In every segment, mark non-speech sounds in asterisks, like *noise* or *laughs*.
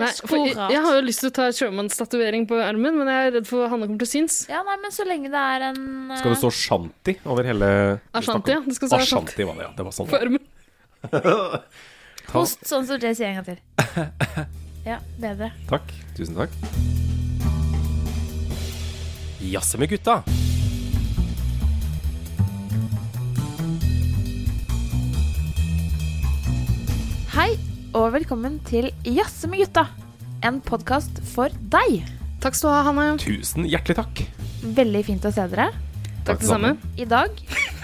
Nei, for jeg, jeg har jo lyst til å ta sjømannstatovering på armen, men jeg er redd for hva Hanne kommer til å synes. Ja, nei, men så lenge det er en eh, Skal det stå Shanti over hele Ashanti, ja. Det skal stå Ashanti Ashanti var det, ja. Det var sånn. på armen. Host, sånn som Jay sier en gang til. Ja, bedre. Takk. Tusen takk. Jazze med gutta. Hei, og velkommen til Jazze med gutta. En podkast for deg. Takk skal du ha, Hanne. Tusen hjertelig takk. Veldig fint å se dere. Takk Takk det samme. I dag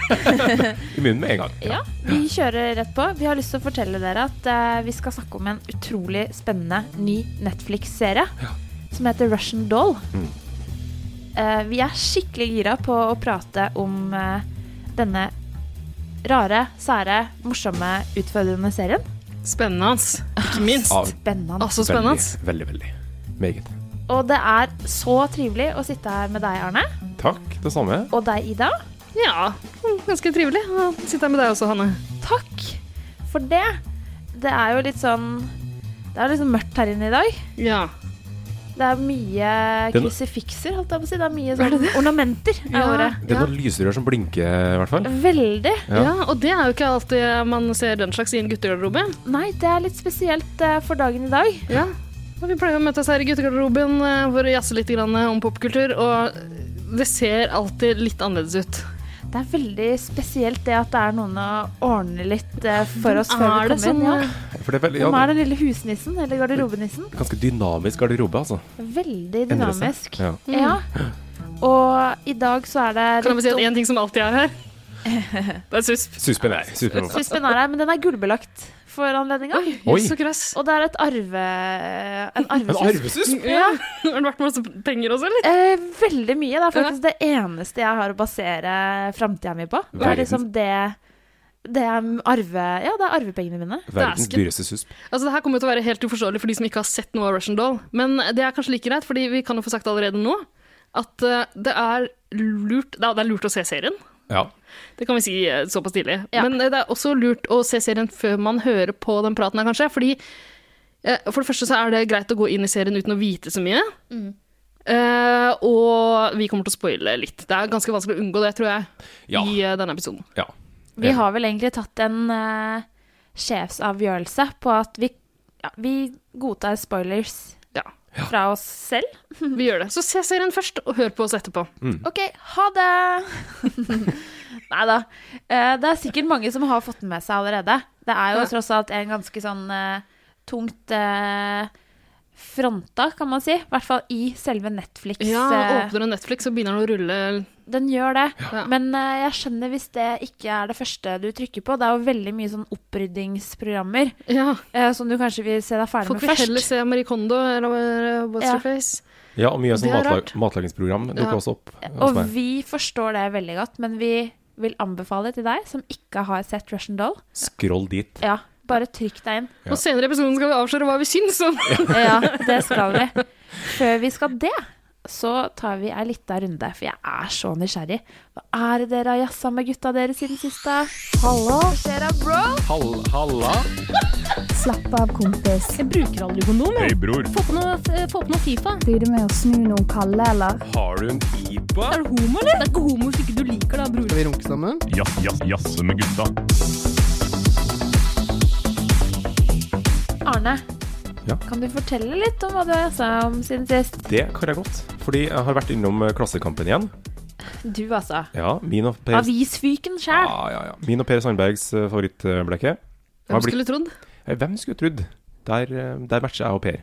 I munnen med en gang. Ja, vi kjører rett på. Vi har lyst til å fortelle dere at eh, vi skal snakke om en utrolig spennende ny Netflix-serie som heter Russian Doll. Eh, vi er skikkelig gira på å prate om eh, denne rare, sære, morsomme, utfordrende serien. Spennende hans. Ikke minst. Ja, Spennende. Altså spennende hans. Veldig, veldig. veldig. Meget. Og det er så trivelig å sitte her med deg, Arne, Takk, det samme. og deg, Ida. Ja, ganske trivelig å sitte her med deg også, Hanne. Takk for det. Det er jo litt sånn Det er liksom mørkt her inne i dag. Ja. Det er mye Den- krusifikser, holdt jeg på å si. Det er mye sånn *laughs* ornamenter. Er Ja. ordet. Det er noen lysrør som blinker, i hvert fall. Veldig. Ja. Ja. og det er jo ikke alltid man ser den slags i en guttegarderobe. Nei, det er litt spesielt eh, for dagen i dag. Ja. Og vi pleier å møtes her i guttegarderoben eh, for å jazze litt grann eh, om popkultur, og det ser alltid litt annerledes ut. Det er veldig spesielt det at det er noen å ordne litt eh, for oss før vi Er det kommer sånn inn. Ja. eh, For det er veldig, Hvem ja, er den lille husnissen, eller garderobenissen? ganske dynamisk garderobe, altså. Veldig Endrer seg. dynamisk. Ja. Ja. Og i dag så er det Kan jeg bare si at litt én ting som alltid er her? Det er susp. Suspen er suspen. om- Suspen er her, men den er gullbelagt for anledninga. Oi. Jøss og krass. Og det er et arve... En *laughs* En arvesus. arvesusp! Ja. *laughs* Har det vært masse penger også, eller? Eh, veldig mye. Det er faktisk det eneste jeg har å basere framtida mi på. Det er Verdens- liksom det Det er arve... Ja, det er arvepengene mine. Verdens Dæsken. dyreste susp. Altså, det her kommer jo til å være helt uforståelig for de som ikke har sett noe av Russian Doll. Men det er kanskje like greit, fordi vi kan jo få sagt allerede nå at eh, det er lurt Det er det er lurt å se serien. Ja. Det kan vi si eh, såpass tidlig. Ja. Men eh, det er også lurt å se serien før man hører på den praten her, kanskje. Fordi eh, for det første så er det greit å gå inn i serien uten å vite så mye. Eh, og vi kommer til å spoile litt. Det er ganske vanskelig å unngå det, tror jeg, Ja. i eh, denne episoden. ja. Vi har vel egentlig tatt en eh, sjefsavgjørelse på at vi, ja, vi godtar spoilers Ja, fra oss selv. vi gjør det. Så se serien først, og hør på oss etterpå. OK, ha det! *laughs* Nei da. Eh, det er sikkert mange som har fått den med seg allerede. Det er jo tross alt en ganske sånn eh, tungt eh, fronta, kan man si. I hvert fall i selve Netflix. Ja, eh, Åpner du Netflix, så begynner den å rulle den gjør det. Ja. Men eh, jeg skjønner hvis det ikke er det første du trykker på. Det er jo veldig mye sånn oppryddingsprogrammer Ja, eh, som du kanskje vil se deg ferdig folk med vil først. heller se Marie Kondo eller What's Ja. Your Face. ja, og mye sånn Det er matlag, rart. matlagingsprogram dukker Ja. også opp eh, hos Og meg. vi forstår det veldig godt, men vi vil anbefale til deg som ikke har sett Russian Doll, Scroll dit. ja, bare trykk deg inn. Ja. Og senere i episoden skal vi avsløre hva vi syns om *laughs* Ja, det skal vi. Før vi skal det, så tar vi ei lita runde, for jeg er så nysgjerrig. Hva er det dere har jazza med gutta dere siden siste? Hallo? Hva skjer da, bro? Hall, halla. Slapp av, kompis. Jeg bruker aldri kondom. jeg. bror, Få på noe, eh, få på noe Fifa. Blir du med å snu noen kalde, eller? har du en pipa? Er du homo, eller? Det er ikke homo hvis ikke du liker det, bror. Skal vi runke sammen? Jazz, jazz, jazze med gutta. Arne, Ja. kan du fortelle litt om hva du har jazza om siden sist? Det kan jeg godt. Fordi jeg har vært innom eh, Klassekampen igjen. Du, altså. Ja, min og Per, Avisfyken sjæl. ja, ja, ja. Min og per Sandbergs eh, favorittblekke. Hvem skulle trodd? Eh, Hvem skulle trodd? Der, eh, der matcher jeg og Per.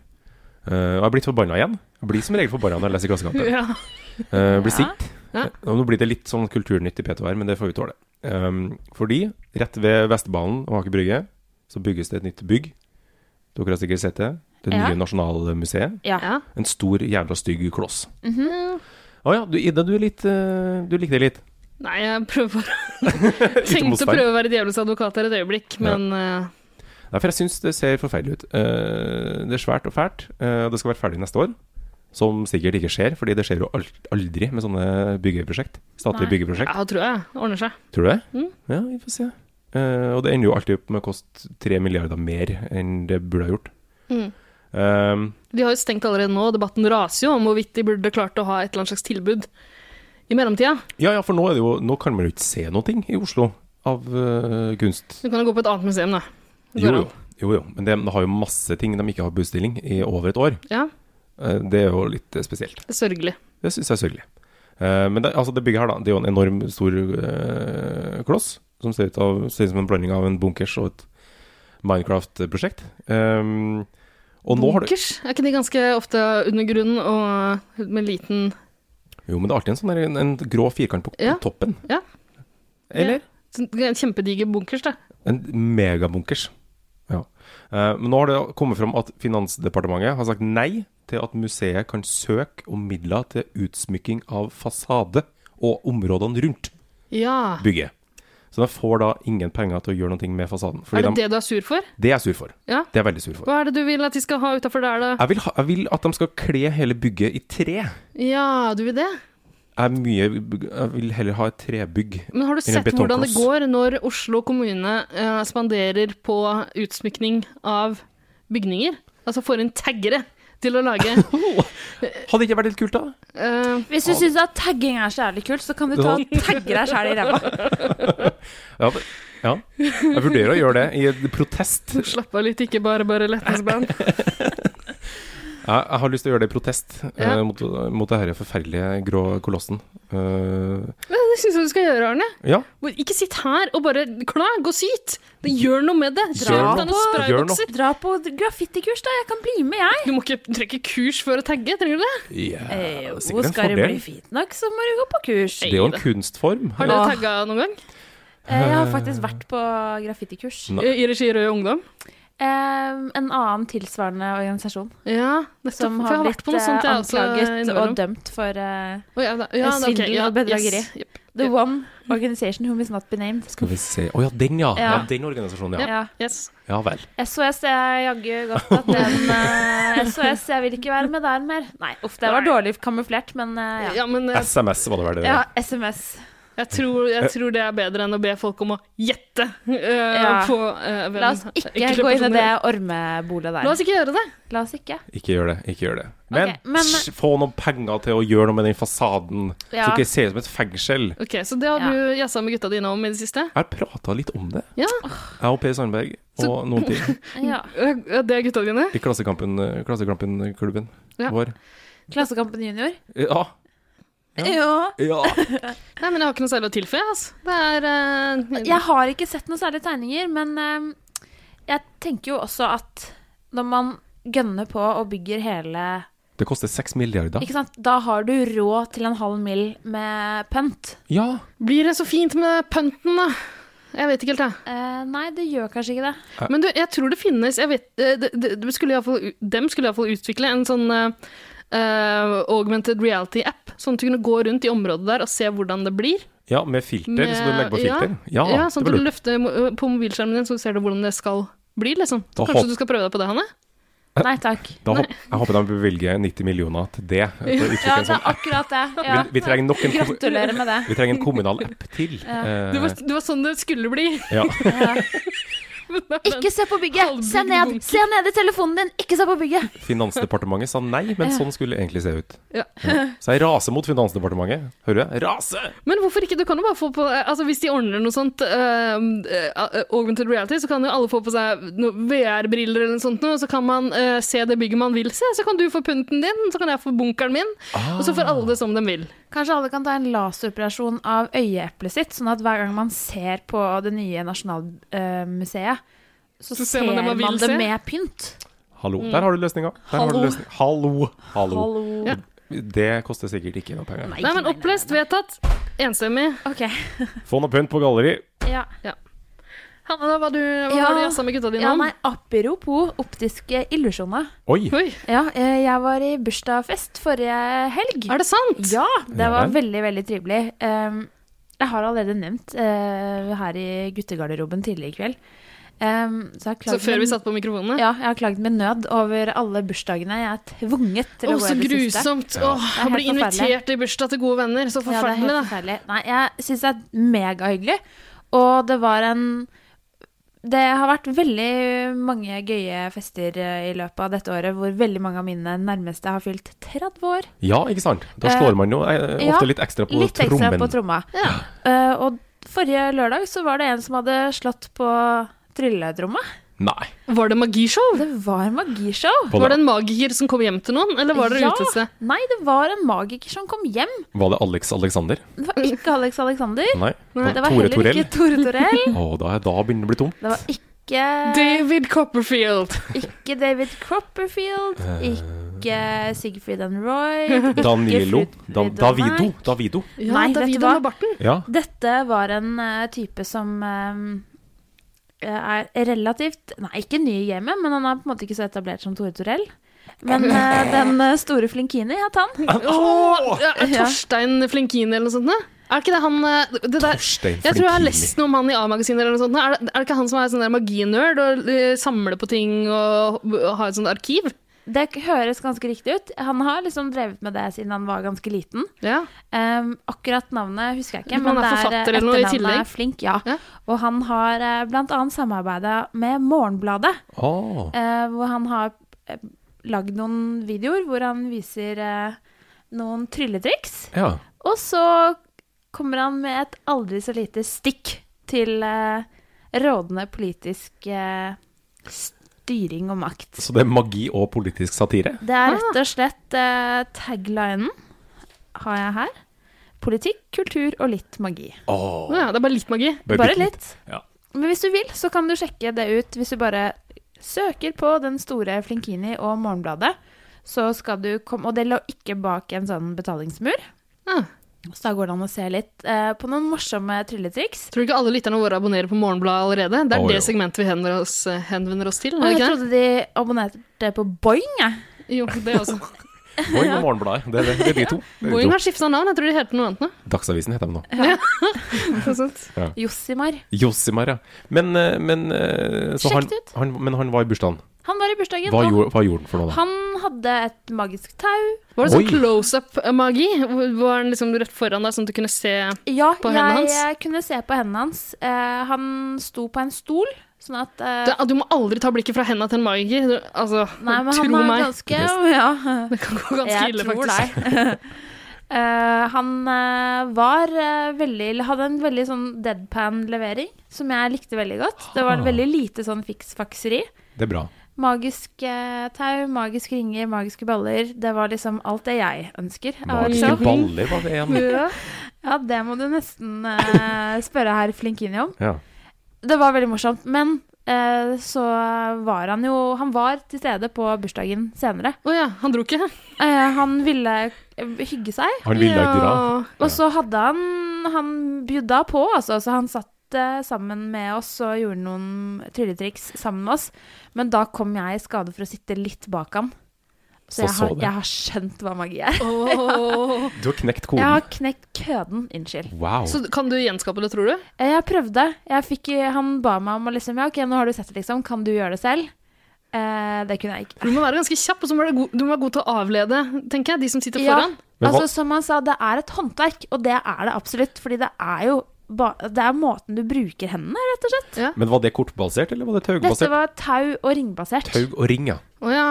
Eh, og jeg har blitt forbanna igjen. Jeg blir som regel forbanna når jeg leser Klassekampen. *laughs* Ja. Eh, blir sint. Ja. Eh, og Nå blir det litt sånn kulturnytt i P2 her, men det får vi tåle. Um, fordi rett ved Vestbanen og Aker Brygge så bygges det et nytt bygg. Dere har sikkert sett det. Det Ja. nye Nasjonalmuseet. Ja. Ja. En stor, jævla stygg kloss. Å Mhm. ja, du, Ida, du, er litt, eh, du likte *laughs* det litt. Nei, jeg prøver *laughs* bare Ute mot Tenkte å Stein. prøve å være djevelens advokat her et øyeblikk, men eh, Nei, for jeg syns det ser forferdelig ut. Eh, det er svært og fælt. eh, og det skal være ferdig neste år. Som sikkert ikke skjer, fordi det skjer jo al- aldri med sånne byggeprosjekt. Statlige Nei. byggeprosjekt. ja, tror jeg ordner seg. Tror du det? Mm. Ja, vi får se. Eh, og det ender jo alltid opp med å koste tre milliarder mer enn det burde ha gjort. Mm. Um, De har jo stengt allerede nå, og debatten raser jo om hvorvidt de burde klart å ha et eller annet slags tilbud i mellomtida. ja, ja, for nå, er det jo, nå kan man jo ikke se noe i Oslo av eh, kunst. Så du kan jo gå på et annet museum, da. Det går Jo, jo. an. jo, jo. Men de, de har jo masse ting de ikke har budstilling i over et år. Ja, Eh, det er jo litt eh, spesielt. det er sørgelig. Det syns jeg er sørgelig. Eh, men det, altså det bygget her, da, det er jo en enorm stor eh, kloss som ser ut, av, ser ut som en blanding av en bunkers og et Minecraft-prosjekt. Eh, og nå har det, Bunkers, er ikke de ganske ofte under grunn og med liten jo, men det er alltid en sånn der, en, en grå firkant på Ja. toppen. Ja. Eller? Sånn Kjempediger bunkers, da. En megabunkers. Ja. Eh, men nå har det kommet fram at Finansdepartementet har sagt nei til at museet kan søke om midler til utsmykking av fasade og områdene rundt Ja. bygget. Så de får da ingen penger til å gjøre noe med fasaden. Er Fordi det de, det du er sur for? det er jeg sur for. Ja. Det er jeg veldig sur for. Hva er det du vil at de skal ha utafor der, da? Jeg vil, ha, jeg vil at de skal kle hele bygget i tre. Ja, du vil det? Jeg, er mye, jeg vil heller ha et trebygg. Men har du Eller sett hvordan det betongkloss. går når Oslo kommune eh, spanderer på utsmykning av bygninger? Altså får inn taggere til å lage *laughs* Hadde ikke det vært litt kult, da? eh, Hvis du syns at tagging er så jævlig kult, så kan du ta og tagge deg sjæl i ræva. Ja, det- ja. Jeg vurderer å gjøre det i en protest. Slapp av litt, ikke bare bare lettens *laughs* band. Jeg, jeg har lyst til å gjøre det i protest Ja. eh, mot, mot det denne forferdelige grå kolossen. Eh, Men det syns jeg du skal gjøre, Arne. ja, Hvor- Ikke sitt her og bare klag og syt! Det gjør noe med det. Gjør Dra ut deg noen noe. Gjør noe. spraybokser. Dra på graffitikurs, da. Jeg kan bli med, jeg. Du må ikke du trenger ikke kurs for å tagge, trenger du det? yeah, Eh, det er jo, sikkert en skal du bli fordel. fint nok, så må du gå på kurs. Det er jo en kunstform. Har dere Åh. tagga noen gang? Eh, jeg har faktisk vært på graffitikurs. Nei. I i regi Rød Ungdom? Eh, en annen tilsvarende organisasjon Ja, nettopp. som For jeg har har blitt vært på noe eh, sånt, jeg altså, også. anklaget og innimellom. dømt for eh, Å, ja, da- ja, da, ok, Svindel ja, og bedrageri. yes, jep. the one organization who is not be named. Skal vi se Å ja, den, ja. ja. Ja. Den organisasjonen, ja. Ja. Yes. Ja vel. SOS, jeg jaggu godt at den *laughs* eh, SOS, jeg vil ikke være med der mer. Nei, uff, det var dårlig kamuflert, men eh, ja. Ja, men eh, SMS var det vel det. ja. Ja. SMS. jeg tror, jeg tror det er bedre enn å be folk om å gjette eh, Ja. på eh, hvem La oss ikke gå enkelte inn i personer det er. ormebolet der. sånn La oss ikke gjøre det. La oss ikke. Ikke gjør det. ikke gjør det Men, Ok, men- sj, få noen penger til å gjøre noe med den fasaden, så Ja. ikke det ser ut som et fengsel. Ok, Så det har Ja. du jazza med gutta dine om i det siste? Jeg har prata litt om det, Ja. jeg og Per Sandberg og Så- noen til Ja. Eh, Det er gutta dine? i Klassekampen- Klassekampen-klubben Ja. vår. Klassekampen junior. Ja. Ja. Ja. ja. Nei, men jeg har ikke noe særlig å tilføye, altså. Det er eh, Jeg har ikke sett noen særlige tegninger, men eh, jeg tenker jo også at når man gønner på og bygger hele Det koster seks milliarder. Ikke sant? Da har du råd til en halv mil med pønt. Ja. Blir det så fint med pønten, da? Jeg vet ikke helt, jeg. Eh, nei, det gjør kanskje ikke det. Men du, jeg tror det finnes jeg vet, eh, det, det, det skulle i hvert fall, Dem skulle iallfall utvikle en sånn eh, eh, augmented reality-app, sånn at du kunne gå rundt i området der og se hvordan det blir. ja, med filter, så du legger på Med- filter. Ja, ja, sånn det at var du lurt. løfter mo- på mobilskjermen din, så ser du hvordan det skal bli, liksom. Så Da kanskje håp- du skal prøve deg på det, Hanne? Nei takk. Da håp, jeg håper de bevilger 90 millioner til det. For å utvikle Ja, en det sånn er akkurat *laughs* det. Vi, Ja. vi trenger nok en, kommu- Gratulerer med det. vi trenger en kommunal app til. Eh, Det var, det var sånn det skulle bli. *laughs* ja. Ikke se på bygget! Se ned! Se ned i telefonen din! Ikke se på bygget! Finansdepartementet sa nei, men sånn skulle det egentlig se ut. Ja. Så jeg raser mot Finansdepartementet. Hører jeg? Rase! Men hvorfor ikke? Du kan jo bare få på Altså Hvis de ordner noe sånt eh, eh, augmented reality, så kan jo alle få på seg noe VR-briller eller noe sånt, noe, så kan man eh, se det bygget man vil se. Så kan du få punten din, så kan jeg få bunkeren min, og så får alle det som de vil. Kanskje alle kan ta en laseroperasjon av øyeeplet sitt, sånn at hver gang man ser på det nye Nasjonalmuseet, så, Så ser man det, man vil se. med pynt. Hallo. Der har du løsninga. Der har du Hallo. løsning. Hallo. Hallo. Hallo. Ja. Det koster sikkert ikke noe Ah. penger. Nei, men opplest, vedtatt, enstemmig. Ok. Få noe pynt på galleri. Ja. Hanne, da, hva, du, hva Ja. har du jazza med gutta dine ja, om? nei, apropos optiske illusjoner. Oi. Oi, Ja, eh, jeg var i bursdagsfest forrige helg. er det sant? Ja, det Ja var vel. veldig, veldig trivelig. Um, jeg har allerede nevnt eh, her i guttegarderoben tidligere i kveld. Um, så jeg har Så klagd før med- vi satte på mikrofonene? Ja, jeg har klagd med nød over alle bursdagene jeg er tvunget til Å, å gå så i det siste. grusomt! Åh, er å helt bli invitert i bursdag til gode venner, Ja, så det er helt forferdelig, da. forferdelig. Nei, jeg syns det er megahyggelig. Og det var en Det har vært veldig mange gøye fester eh, i løpet av dette året, hvor veldig mange av mine nærmeste har fylt 30 år. Ja, ikke sant? Da Eh, slår man jo eh, ja, ofte litt ekstra på Litt ekstra trommen. på tromma. Eh, og forrige lørdag så var det en som hadde slått på trilletromma. Nei. Var det magishow? Det var magishow. Var Var det, det en magiker som kom hjem til noen, eller var det Ja. utelse? Nei, det var en magiker som kom hjem. var det Alex Alexander? Det var ikke Alex Alexander. Nei. Nei, Det var Tore heller Torell? ikke Tore Torell. Å, da, da begynner det å bli tomt. Det var ikke, David Copperfield! ikke David Cropperfield. Ikke Sigfrid and Roy. Danilo. Frut- Da, Frut- Davido. Davido. Ja, Nei, vet David du hva? og barten. Ja. Dette var en eh, type som eh, er relativt Nei, ikke ny i gamet, men han er på en måte ikke så etablert som Tore Torell. Men eh, den eh, store Flinkini het han. Åh, ja, er Ja. Torstein Flinkini eller noe sånt? da? Er ikke det han eh, det der, Torstein Jeg tror jeg har Flinkini. lest noe om han i A-magasinet eller noe sånt. da. Er det, er det ikke han som er sånn der maginerd og eh, samler på ting og, og har et sånt arkiv? Det k- høres ganske riktig ut. Han har liksom drevet med det siden han var ganske liten. Ja. Em, akkurat navnet husker jeg ikke, Men men han det er er forfatter eh, eller noe i etternavnet tillegg? er Flink. Ja. Ja. Og han har eh, blant annet samarbeida med Morgenbladet. Å, Eh, hvor han har eh, lagd noen videoer hvor han viser eh, noen trylletriks. ja. Og så kommer han med et aldri så lite stikk til eh, rådende politisk eh, styring og makt. Så det er magi og politisk satire? Det er rett og slett eh, taglinen har jeg her. Politikk, kultur og litt magi. Åh, ja, det er bare litt magi. bare Bare bitte litt. Ja. Men hvis du vil, så kan du sjekke det ut hvis du bare søker på den store Flinkini og Morgenbladet. Så skal du komme, Og det lå ikke bak en sånn betalingsmur. Ja. Så da går det an å se litt eh, på noen morsomme trylletriks. Tror du ikke alle lytterne våre abonnerer på Morgenbladet allerede? Det er Å, det jo. segmentet vi henvender oss, eh, henvender oss til, Og er jeg det ikke det? trodde de abonnerte på Boing, jeg. Jo, det også. Boing og Morgenbladet. Det er det. Det er de *laughs* to. *laughs* Det er de Boeing to. har skifta navn, jeg tror de heter noe *laughs* annet nå. Dagsavisen heter de nå. Noe sånt. Jossimar. Jossimar, ja. Men, eh, men, eh, så Sjekk han, det ut. han, men han var i bursdagen. Han var i bursdagen. Hva og gjorde, hva gjorde han for noe, da? Han hadde et magisk tau. Var det sånn Oi. close up-magi? Var den liksom rett foran deg, sånn at du kunne se Ja, På jeg hendene hans? eh, kunne se på hendene hans. Eh, han sto på en stol, sånn at eh, det, Du må aldri ta blikket fra hendene til en magiker. Du- Altså, Nei, men tro han er meg. ganske *laughs* Ja. Det kan gå ganske Jeg ille, tror faktisk. deg. *laughs* Eh, han eh, var eh, veldig Hadde en veldig sånn deadpan-levering som jeg likte veldig godt. Det var Ah. veldig lite sånn fiksfakseri. Det er bra. Magisk eh, tau, magiske ringer, magiske baller. Det var liksom alt det jeg ønsker. av et Magiske show. baller var det igjen. *laughs* Ja, det må du nesten eh, spørre herr Flinkini om. Ja. Det var veldig morsomt. Men eh, så var han jo Han var til stede på bursdagen senere. Å ja, han dro ikke? Eh, han ville eh, hygge seg. Han ville ikke dra. Og så hadde han Han bjudda på, altså. Så han satt eh, sammen med oss og gjorde noen trylletriks sammen med oss. Men da kom jeg i skade for å sitte litt bak han. Så, Så jeg, har, så det. jeg har skjønt hva magi er. Åh. Du har knekt Jeg koden. har knekt køden. Unnskyld. Wow. *laughs* Så kan du gjenskape det, tror du? Eh, Jeg prøvde. Jeg fikk, eh, han ba meg om å liksom Ja, OK, nå har du sett det, liksom. Kan du gjøre det selv? Eh, det kunne jeg ikke. Du må være ganske kjapp, og så må du, være god- du må være god til å avlede, tenker jeg, de som sitter Ja, foran. Men hva- altså som han sa, det er et håndverk, og det er det absolutt. Fordi det er jo ba Det er måten du bruker hendene, rett og slett. Men var det kortbasert, eller var det Dette taugbasert? var tau og ringbasert. Taug og ring, ja. Å ja.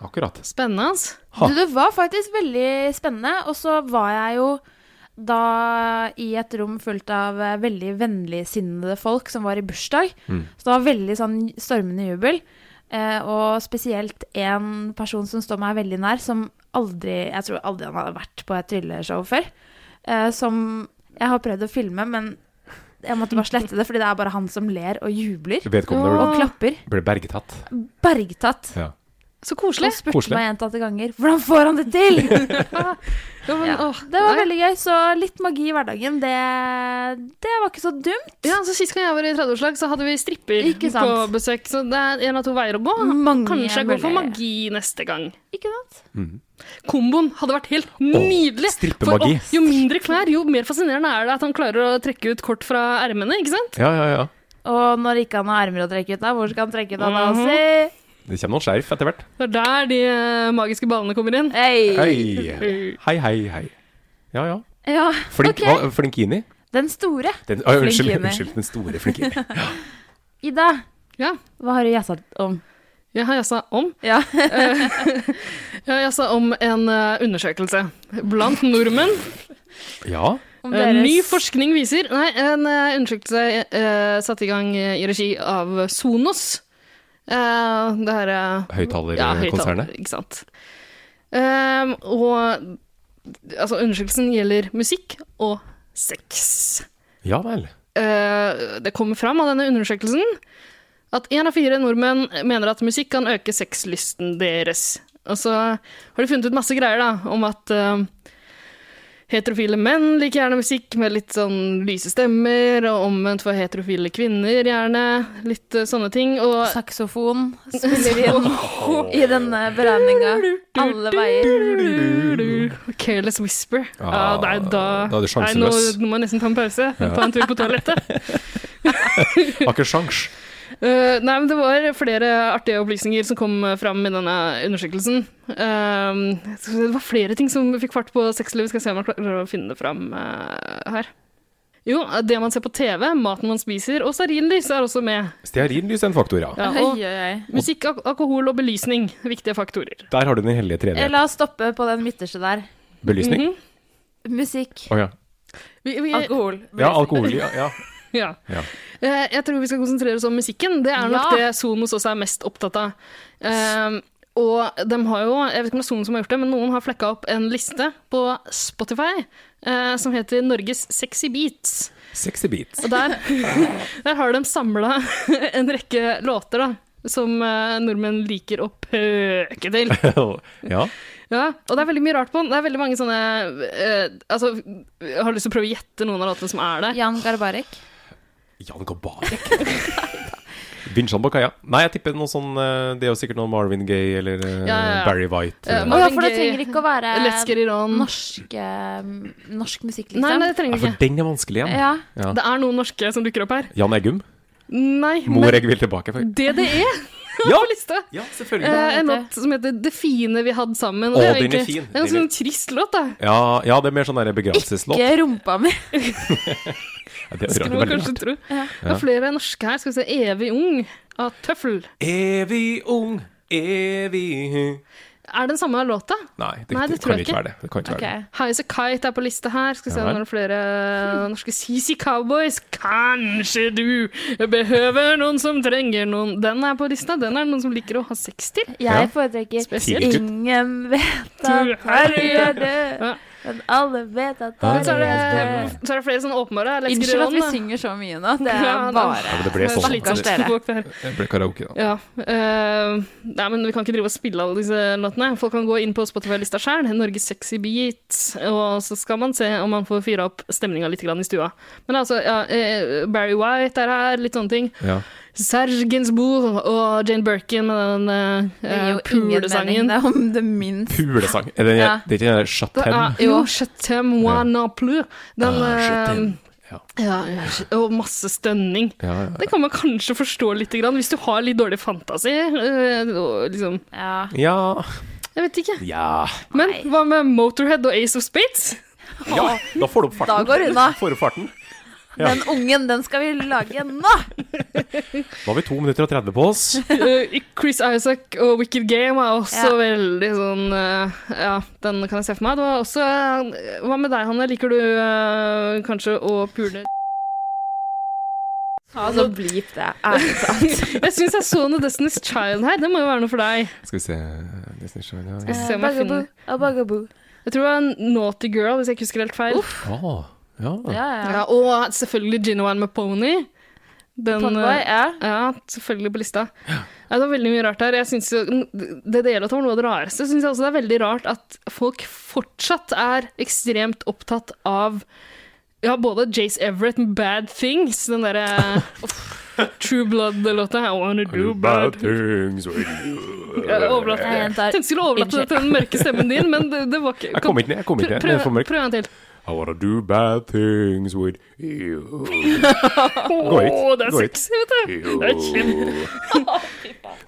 Akkurat. Spennende, altså. Ha. Du, det var faktisk veldig spennende, og så var jeg jo da i et rom fullt av eh, veldig vennligsinnede folk som var i bursdag. Så det var veldig sånn stormende jubel. Eh, og spesielt en person som står meg veldig nær, som aldri Jeg tror aldri han hadde vært på et trylleshow før. Eh, som jeg har prøvd å filme, men jeg måtte bare slette det, fordi det er bare han som ler og jubler. Vedkommende Og ble, klapper. ble bergetatt. Bergtatt. Ja. Så Og koselig. spurte Koselig. meg gjentatte ganger hvordan får han det *laughs* til? Ja, men, Ja. åh, Det var nei. veldig gøy, så litt magi i hverdagen, det, det var ikke så dumt. ja, så Sist gang jeg var i 30-årslag, så hadde vi stripper Ikke sant. Mm, på besøk. Så det er en av to veier å gå. Mange Kanskje jeg går for muligheter. magi neste gang. Ikke sant? Komboen hadde vært helt nydelig. strippemagi. For, å, jo mindre klær, jo mer fascinerende er det at han klarer å trekke ut kort fra ermene. ikke sant? ja, ja, ja. Og når ikke han har ermer å trekke ut av, hvor skal han trekke ut av da? Mhm. Si? Det kommer noen skjerf etter hvert. Det er der de eh, magiske ballene kommer inn. Eh. Hei! Hei, hei, hei. hei. Ja, ja. Ja, Flink, ok. hva- Flinkini? Den store. Den, ah, unnskyld, Flinkini. unnskyld, den store Flinkini. Ida, Ja, hva har du gjessa om? jeg har jassa om. *laughs* Eh, Ja. Jeg har jassa om en eh, undersøkelse blant nordmenn. Ja. Om Eh, deres- Ny forskning viser Nei, en eh, undersøkelse eh, satt i gang eh, i regi av Sonos. Eh, det her eh, Høyttalerkonsernet. høyttaler, ikke sant. Ehm, og altså, undersøkelsen gjelder musikk og sex. Ja, vel. Eh, det kommer fram av denne undersøkelsen at én av fire nordmenn mener at musikk kan øke sexlysten deres. Og så har de funnet ut masse greier da, om at eh, heterofile menn liker gjerne musikk med litt sånn lyse stemmer, og omvendt for heterofile kvinner gjerne. Litt eh, sånne ting. Og Saksofon spiller inn i denne beregninga. Alle veier. Careless Whisper. Ja, Ah, nei, da, da er nei, du nå, sjanseløs. nå må jeg nesten ta en pause. Ta en tur på *laughs* toalettet. Har ikke sjans. Eh, nei, men det var flere artige opplysninger som kom fram i denne undersøkelsen. Eh, så det var flere ting som fikk fart på sexlivet. Skal jeg se om jeg klarer å finne det fram eh, her. Jo, det man ser på TV, maten man spiser, og stearinlys er også med. Stearinlys er en faktor, ja. Ja, Oi, og oi, oi. musikk, ak alkohol og belysning, viktige faktorer. Der har du den hellige Eh, tredje. La oss stoppe på den midterste der. Belysning. Mhm. Musikk, Å ja. Vi, vi, alkohol. Ja, alkohol. Ja, ja. *laughs* Ja. Ja. Eh, Jeg tror vi skal konsentrere oss om musikken. Det er nok Ja. det Sonos også er mest opptatt av. Eh, og de har jo, jeg vet ikke om det er Sonos som har gjort det, men noen har flekka opp en liste på Spotify eh, som heter Norges sexy beats. Sexy beats. *laughs* Og der, der har de samla *laughs* en rekke låter da, som eh, nordmenn liker å pøke *laughs* til. ja. Ja, og det er veldig mye rart på den. Det er veldig mange sånne eh, Altså, jeg har lyst til å prøve å gjette noen av låtene som er der. Jan Garbarek. Jan Gabarek. Vinsjan Bakaya. Nei, jeg tipper noe sånn eh, Det er jo sikkert noe Marvin Gaye eller eh, Ja, ja, ja. Barry White. Eh, Å eller- ja, Marvin for det Gaye. trenger ikke å være Letsker Iran. norsk, eh, norsk musikk, liksom. Nei, nei, det ja, trenger vi for ikke. den er vanskelig igjen. ja. Ja. Det er noen norske som dukker opp her. Jan Eggum. Nei, Mor men Egg vil tilbake. For. det det *laughs* er Ja! på lista! ja, Eh, selvfølgelig. en låt som heter 'Det fine vi hadde sammen'. Og Å, det er jo den er egentlig- fin. Det er en Den er- sånn trist låt, da. Ja, ja, det er mer sånn der begravelseslåt. Ikke rumpa mi. Ja, det er Skulle veldig man rart. kanskje tro. Det er flere norske her. Skal vi se 'Evig ung' av Tøffel. Evig ung, evig Er den samme låta? Nei, det, Nei, det, det tror kan jeg ikke ikke. være det. det, kan ikke være det. Ok. High as a Kite er på lista her. Skal vi se Ja om vel. det er flere norske CC Cowboys. Kanskje du behøver noen som trenger noen Den er på lista. Den er det noen som liker å ha sex til. Ja. Jeg foretrekker Spesielt. Tidlig. Ingen vet Du at Harry er Ja. død, men alle vet at Ja. Men så er Harry er død. det, så er det flere sånn åpenbare. Let's Get Unnskyld It at On, vi da. synger så mye nå. Det Ja, er da. bare Ja, men det ble sånn. Stakkars Det dere. dere. det ble karaoke, da. Ja. eh, nei, men vi kan ikke drive og spille alle disse låtene. Folk kan gå inn på Spotify-lista sjøl, Norges sexy beat, og så skal man se om man får fyra opp stemninga litt grann i stua. Men altså, ja, eh, Barry White er her, litt sånne ting. Ja. Serge Gainsbourg og Jane Birkin med den eh, Det gir jo ingen mening, pulesangen. det, om det minst. Pulesang. Er det, Ja. det er ikke den der Det Chatem? er jo Chatem moi non plus. Den Ah, eh, Chatem. Ja. ja, ja, Og masse stønning. Ja, ja. Det kan man kanskje forstå litt, grann, hvis du har litt dårlig fantasi. eh, og liksom, Ja. ja. jeg vet ikke. Ja. Men hva med Motorhead og Ace of Spades? ja. Da får du opp farten. Da går det unna. *laughs* Får du opp farten. Ja. Den ungen, den skal vi lage nå! Nå har vi to minutter og 30 på oss. Eh, Chris Isaac og Wicked Game er også Ja. veldig sånn eh, Ja, den kan jeg se for meg. Det var også eh, Hva med deg, Hanne? Liker du eh, kanskje å pule Altså, blip det, ærlig talt. Jeg syns jeg så noe Destiny's Child her. Det må jo være noe for deg. Skal vi se Disney Channel, ja. Skal vi se om jeg finner A Eh, bugaboo. Jeg tror det var en Naughty Girl, hvis jeg ikke husker helt feil. Ah, ja. Ja, ja. Ja, og selvfølgelig Gin and Wine med Pony. Den, Pondboy, eh, ja. Ja, selvfølgelig på lista. Nei, det var veldig mye rart her. Jeg synes jo, det det gjelder at det var noe av det rareste, syns jeg også det er veldig rart at folk fortsatt er ekstremt opptatt av ja, både Jace Everett med 'Bad Things', den derre *laughs* True Blood-låta 'I Wanna Do Bad Things'. *laughs* Jeg overlater- Jeg gjentar. tenkte jeg skulle overlate det til den mørke stemmen din, men det, det var ikke Jeg kom ikke ned. jeg kom ikke ned. Det er for Prøv, mørkt. prøv en til. I wanna do bad things with you. Å, det er Gå ut. sexy, vet du. *laughs* Det er kjempe...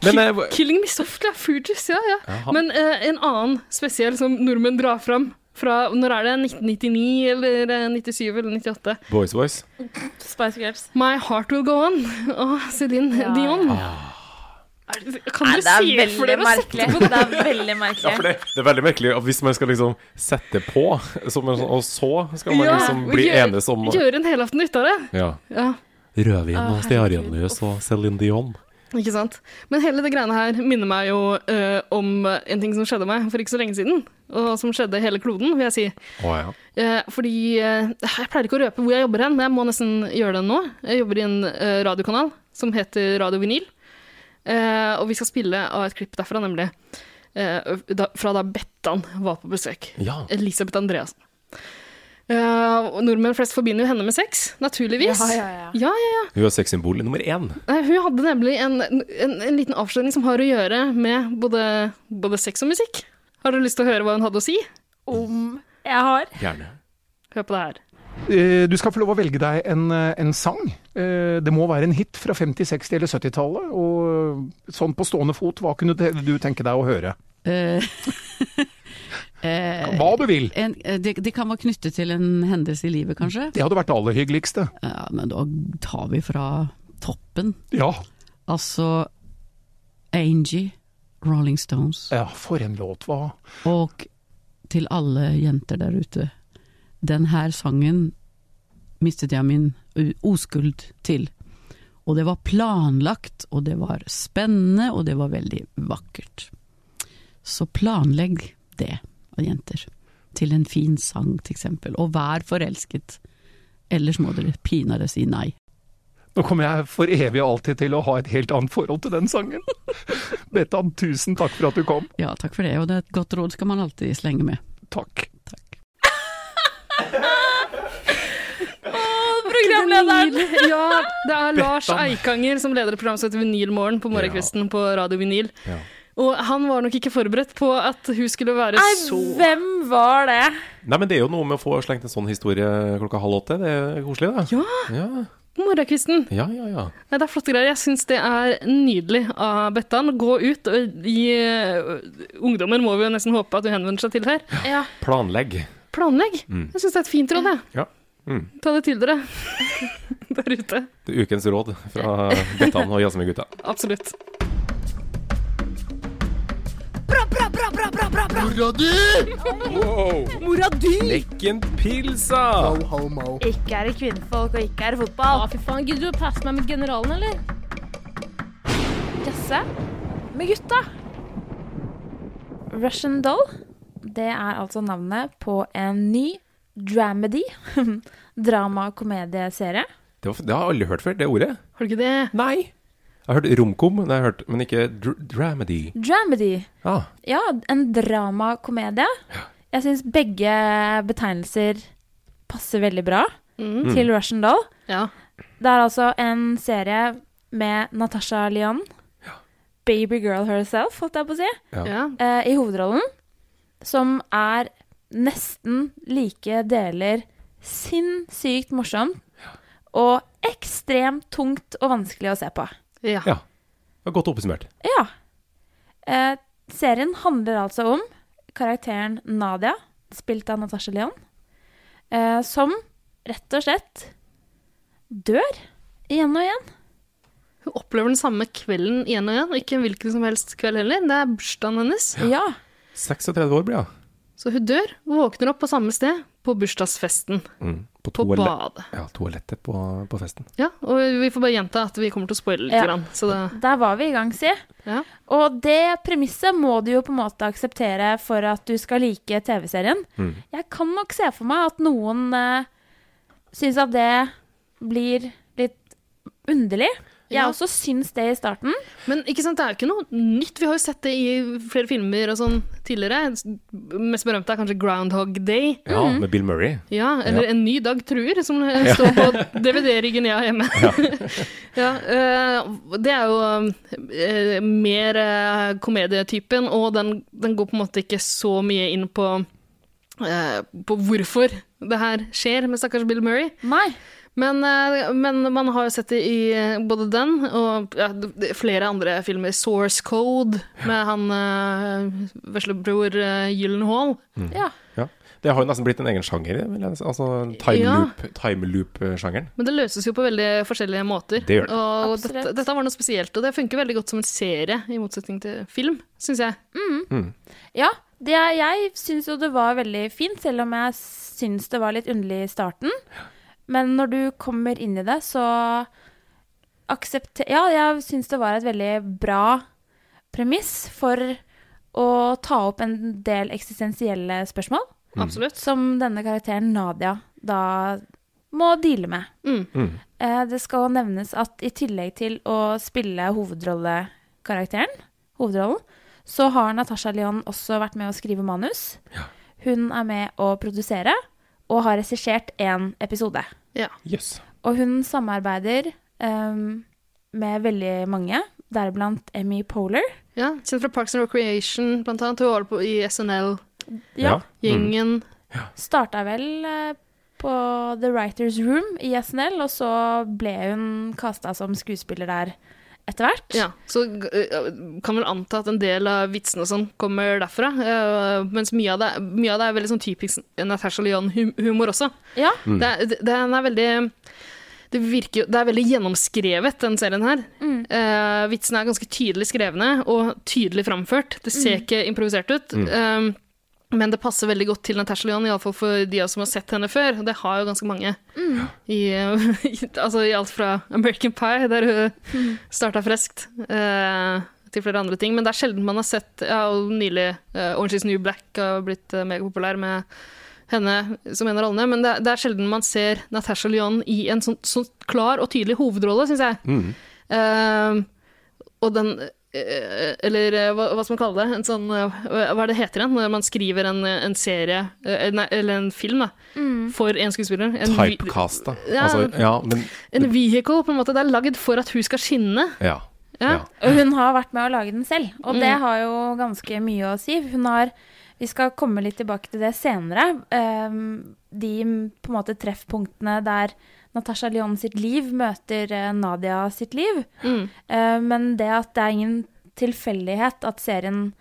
Men eh, hva- Killing Me Softly er Fugees, ja, ja. Jaha. Men eh, en annen spesiell som nordmenn drar fram Fra når er det? 1999 eller eh, 97 eller 98? Boys Boys. Spice Girls. My Heart Will Go On av Céline Ja. Dion. Er- Kan du si det for dere? merkelig. Det er veldig merkelig. Ja, for det, det er veldig merkelig at hvis man skal liksom sette på, som en sånn, og så skal man liksom bli gjør- enes om Gjøre en helaften ut av det. ja. Ja, Rødvin Å, og stearinlys og Céline Dion. ikke sant? Men hele det greiene her minner meg jo eh, om en ting som skjedde meg for ikke så lenge siden, og som skjedde hele kloden, vil jeg si. Å ja. Eh, fordi eh, Jeg pleier ikke å røpe hvor jeg jobber hen, men jeg må nesten gjøre det nå. Jeg jobber i en eh, radiokanal som heter Radio Vinyl. Eh, og vi skal spille av et klipp derfra, nemlig. Eh, da, fra da Bettan var på besøk. ja. Elisabeth Andreassen. Eh, og nordmenn flest forbinder jo henne med sex, naturligvis. Ja, ja, ja. ja, ja. Hun er sexsymbol nummer én. Nei, Hun hadde nemlig en, en, en liten avsløring som har å gjøre med både, både sex og musikk. Har du lyst til å høre hva hun hadde å si? Om jeg har. Gjerne. Hør på det her. Eh, Du skal få lov å velge deg en, eh, en sang. Eh, Det må være en hit fra 50-, 60- eller 70-tallet. Og sånn på stående fot, hva kunne te- du tenke deg å høre? Eh, eh, Hva du vil! en, eh, det, det kan være knyttet til en hendelse i livet, kanskje. Det hadde vært det aller hyggeligste. Ja, men da tar vi fra toppen. Ja. Altså Angie, Rolling Stones. ja, for en låt. Hva Og til alle jenter der ute. Den her sangen mistet jeg min u- oskuld til. Og det var planlagt, og det var spennende, og det var veldig vakkert. Så planlegg det, jenter. Til en fin sang, til eksempel. Og vær forelsket. Ellers må dere pinadø si nei. Nå kommer jeg for evig og alltid til å ha et helt annet forhold til den sangen. *laughs* Bettan, tusen takk for at du kom. Ja, takk for det, og det er et godt råd skal man alltid slenge med. Takk. Takk. Programlederen! *laughs* Ja, det er Lars Eikanger som leder et program som heter Vinylmorgen på morgenkvisten på Radio Vinyl. Ja. Og han var nok ikke forberedt på at hun skulle være Nei, så hvem var det? Nei, men det er jo noe med å få slengt en sånn historie klokka halv åtte. Det er koselig, det. Ja, Morgenkvisten! ja, ja. ja. Nei, det er flotte greier. Jeg syns det er nydelig av Bettan. Gå ut og gi eh, Ungdommer må vi jo nesten håpe at du henvender seg til her. Ja. Planlegg. Planlegg! Jeg syns det er et fint råd, jeg. Mm. Ja. Mm. Ta det til dere *laughs* der ute. Det er ukens råd fra Bettan og Jasmin-gutta. Absolutt. Mora di! Lekken pilsa! Ikke er det kvinnfolk, og ikke er det Ja, fotball. fy faen. Gidder du å passe meg med generalen, eller? Jazze med gutta. Russian Doll, det er altså navnet på en ny dramedy. *laughs* Drama-komedieserie. Det, var, det har jeg aldri hørt før, det ordet. Har du ikke det? Nei. Jeg har hørt romkom, det har jeg hørt, men ikke dr dramedy. Dramedy. Ah, Ja, en dramakomedie. Jeg syns begge betegnelser passer veldig bra til Russian Doll. Ja. Det er altså en serie med Natasha Lyon, baby girl herself, holdt jeg på å si, Ja. ja. eh, i hovedrollen. Som er nesten like deler sinnssykt morsom og ekstremt tungt og vanskelig å se på. ja. ja. Det var godt oppsummert. Ja. Eh, serien handler altså om karakteren Nadia, spilt av Natasha Leon, eh, som rett og slett dør igjen og igjen. Hun opplever den samme kvelden igjen og igjen, og ikke en hvilken som helst kveld heller. Det er bursdagen hennes. Ja. 36 år blir hun. Så hun dør og våkner opp på samme sted på bursdagsfesten Mm. på toale- badet. Ja, toalettet på, på festen. Ja, og vi får bare gjenta at vi kommer til å spoile litt. Ja. Grann, så det, Der var vi i gang, si. ja. Og det premisset må du jo på en måte akseptere for at du skal like TV-serien. Jeg kan nok se for meg at noen eh, syns at det blir litt underlig. Jeg Ja. også syns det i starten. Men ikke sant, det er jo ikke noe nytt. Vi har jo sett det i flere filmer og sånn tidligere. Mest berømte er kanskje Groundhog Day. Ja, med Bill Murray. Ja, eller Ja. En ny dag truer, som det står på DVD-ryggen jeg har hjemme. *laughs* Ja. eh, det er jo eh, mer eh, komedietypen, og den, den går på en måte ikke så mye inn på, eh, på hvorfor det her skjer med stakkars Bill Murray. Nei. Men, eh, men man har jo sett det i eh, både den og ja, d- d- flere andre filmer. Source Code med han eh, veslebror eh, Gyllenhaal. Ja. Det har jo nesten blitt en egen sjanger, vil jeg si. Altså time Ja. loop- time loop-sjangeren. Men det løses jo på veldig forskjellige måter. Det gjør det. Og Absolutt. dette, dette var noe spesielt, og det funker veldig godt som en serie, i motsetning til film, syns jeg. Ja, det, er- jeg syns jo det var veldig fint, selv om jeg syns det var litt underlig i starten. Men når du kommer inn i det, så aksepter Ja, jeg syns det var et veldig bra premiss for å ta opp en del eksistensielle spørsmål Mm. Absolutt. som denne karakteren Nadia da må deale med. Mm. Mm. Eh, Det skal nevnes at i tillegg til å spille hovedrollekarakteren, hovedrollen, så har Natasha Lyon også vært med å skrive manus. Hun er med å produsere og har regissert én episode. Jøss. Og hun samarbeider ehm, med veldig mange, deriblant Emmy Polar. Ja, Kjent fra Parks and Recreation, blant annet. Hun var på i SNL-gjengen. Ja. Mm. Starta vel eh, på The Writers Room i SNL, og så ble hun kasta som skuespiller der etter hvert. Ja, så eh, kan vel anta at en del av vitsene og sånn kommer derfra. eh, mens mye av, det, mye av det er veldig sånn typisk Natasha Lyon-humor også. Ja. Mm. Det, er- det, den er veldig det, virker, jo- det er veldig gjennomskrevet, den serien her. Mm. Eh, vitsene er ganske tydelig skrevne og tydelig framført. Det ser ikke improvisert ut. eh, men det passer veldig godt til Natasha Lyon, iallfall for de av oss som har sett henne før. Og det har jo ganske mange. I, eh, *laughs* i, altså, I alt fra American Pie, der hun starta freskt, eh, til flere andre ting. Men det er sjelden man har sett ja, og Nylig eh, Orange is the New Black har blitt eh, megapopulær med henne som en av rollene. Men det, er- det er sjelden man ser Natasha Lyon i en sånn, sånn klar og tydelig hovedrolle, syns jeg. Mm. Eh, og den eh, eller eh, hva, hva skal man kalle det? En sånn, eh, hva er det heter igjen når man skriver en, en serie, eh, nei, eller en film, da, for en skuespiller? En, vi- Typecasta. Ja. Altså, ja, men en vehicle, på en måte. Det er lagd for at hun skal skinne. Ja. Ja. ja. Og hun har vært med å lage den selv, og det har jo ganske mye å si. Hun har, vi skal komme litt tilbake til det senere. ehm, de på en måte treffpunktene der Natasha Lyon sitt liv møter eh, Nadia sitt liv. Mm. Eh, men det at det er ingen tilfeldighet at serien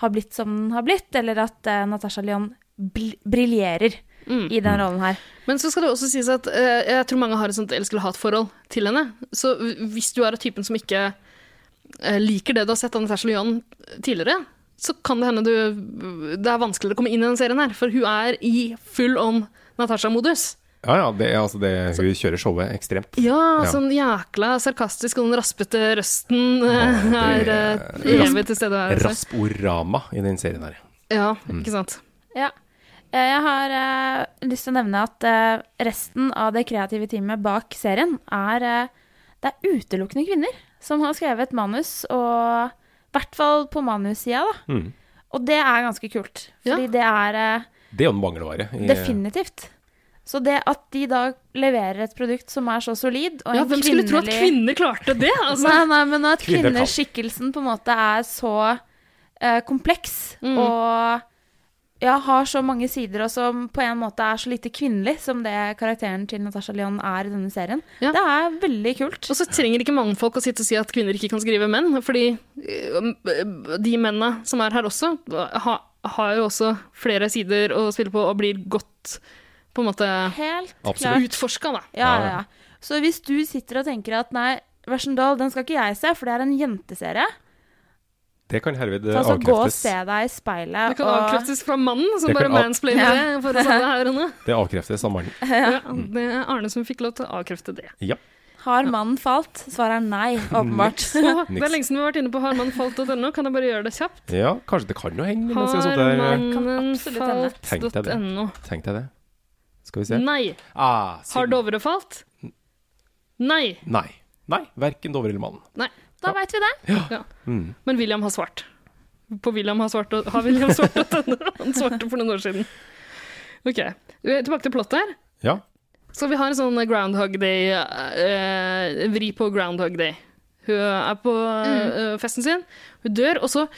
har blitt som den har blitt, eller at eh, Natasha Lyon bl briljerer Mm. i den rollen her. Men så skal det også sies at eh, jeg tror mange har et sånt elsk-eller-hat-forhold til henne. Så hvis du er av typen som ikke eh, liker det du har sett av Natasha Lyon tidligere, så kan det hende du Det er vanskeligere å komme inn i den serien her, for hun er i full on Natasha-modus. Ja, ja, det er altså det Hun kjører showet ekstremt. Ja, Ja. sånn jækla sarkastisk, og den raspete røsten eh, Å, det er eh, evig til stede her. altså. Rasporama i den serien her. Ja, ikke sant. Ja. Eh, Jeg har eh, lyst til å nevne at eh, resten av det kreative teamet bak serien er eh, Det er utelukkende kvinner som har skrevet manus, og i hvert fall på manussida, da. Mm. Og det er ganske kult, Ja. fordi det er eh, Det er jo en mangelvare. i- definitivt. Så det at de da leverer et produkt som er så solid, og Ja, en hvem skulle tro at kvinnelig- kvinner klarte det? Altså. Nei, nei, men at Kvinner kan. kvinneskikkelsen på en måte er så eh, kompleks Mm. og ja, har så mange sider, og som på en måte er så lite kvinnelig som det karakteren til Natasha Lyon er i denne serien. Ja. Det er veldig kult. Og så trenger ikke mannfolk å sitte og si at kvinner ikke kan skrive menn, fordi eh, de mennene som er her også, ha, har jo også flere sider å spille på og blir godt på en måte Helt Absolutt. klart. utforska, da. Ja, Ja, ja, ja. Så hvis du sitter og tenker at nei, Versendal, den skal ikke jeg se, for det er en jenteserie. Det kan herved Så altså, gå og avkreftes. se deg i Det speilet. kan Og, avkreftes fra mannen, som Det kan bare av- mansplainer det. For å si det her inne. Det avkreftes av mannen. Ja, det er Arne som fikk lov til å avkrefte det. Ja. har mannen falt? Svaret er *laughs* nei, åpenbart. Så, det er lenge siden vi har vært inne på harmannfalt.no, kan jeg bare gjøre det kjapt? ja, kanskje det kan jo hende. mens jeg har sittet her. absolutt hende. Tenkte jeg det. Harmannfalt.no. Tenk deg det. Skal vi se. Nei. Ah, synd. Har Dovre falt? Nei. Nei. Nei, verken Dovre eller mannen. Nei. Da veit vi det. Ja. Mm. Men William har svart. På William har svart, har William svart at denne- han svarte for noen år siden. Ok, vi er tilbake til plottet her. Ja. Så vi har en sånn Groundhog Day, eh, vri på Groundhog Day. Hun er på eh, festen sin, hun dør, og så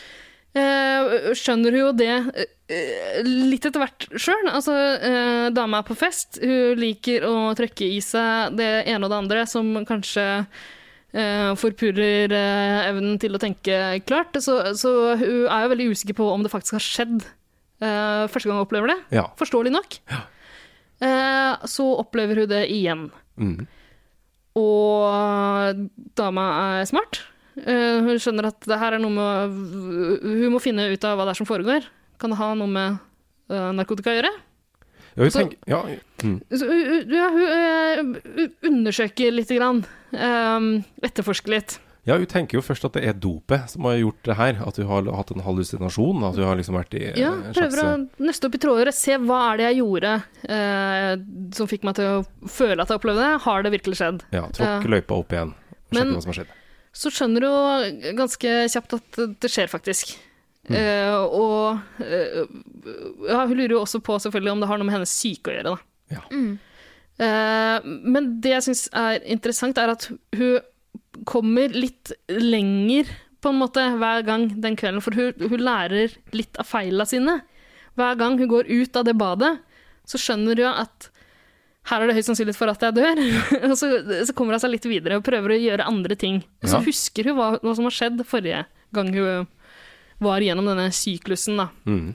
eh, skjønner hun jo det eh, litt etter hvert sjøl. Altså, eh, dama er på fest, hun liker å trøkke i seg det ene og det andre som kanskje eh, forpurer eh, evnen til å tenke klart. Så, så hun er jo veldig usikker på om det faktisk har skjedd eh, første gang hun opplever det. Ja. Forståelig nok. Eh, så opplever hun det igjen. Mm. Og dama er smart. Eh, hun skjønner at det her er noe med Hun må finne ut av hva det er som foregår. Kan det ha noe med eh, narkotika å gjøre? Ja, hun Så- tenker, ja, mm. Så, hun- hun- ja, hun eh, undersøker lite grann. eh, etterforsker litt. ja, hun tenker jo først at det er dopet som har gjort det her. At hun har hatt en hallusinasjon. At hun har liksom vært i eh, Ja, en prøver å slags- nøste opp i tråder og se hva er det jeg gjorde eh, som fikk meg til å føle at jeg opplevde det. Har det virkelig skjedd? eh, Ja, tråkke løypa opp igjen. og Men- Sjekke hva som har skjedd. så skjønner du jo ganske kjapt at det skjer faktisk. Mm. Eh, og eh, ja, hun lurer jo også på selvfølgelig om det har noe med hennes syke å gjøre. Da. Ja. Eh, men det jeg syns er interessant, er at hun kommer litt lenger på en måte hver gang den kvelden, for hun, hun lærer litt av feila sine. Hver gang hun går ut av det badet, så skjønner hun at her er det høyst sannsynlighet for at jeg dør. *laughs* og så, så kommer hun seg litt videre og prøver å gjøre andre ting. Og så Ja. husker hun hva, hva som har skjedd forrige gang hun var gjennom denne syklusen. Da. Mm.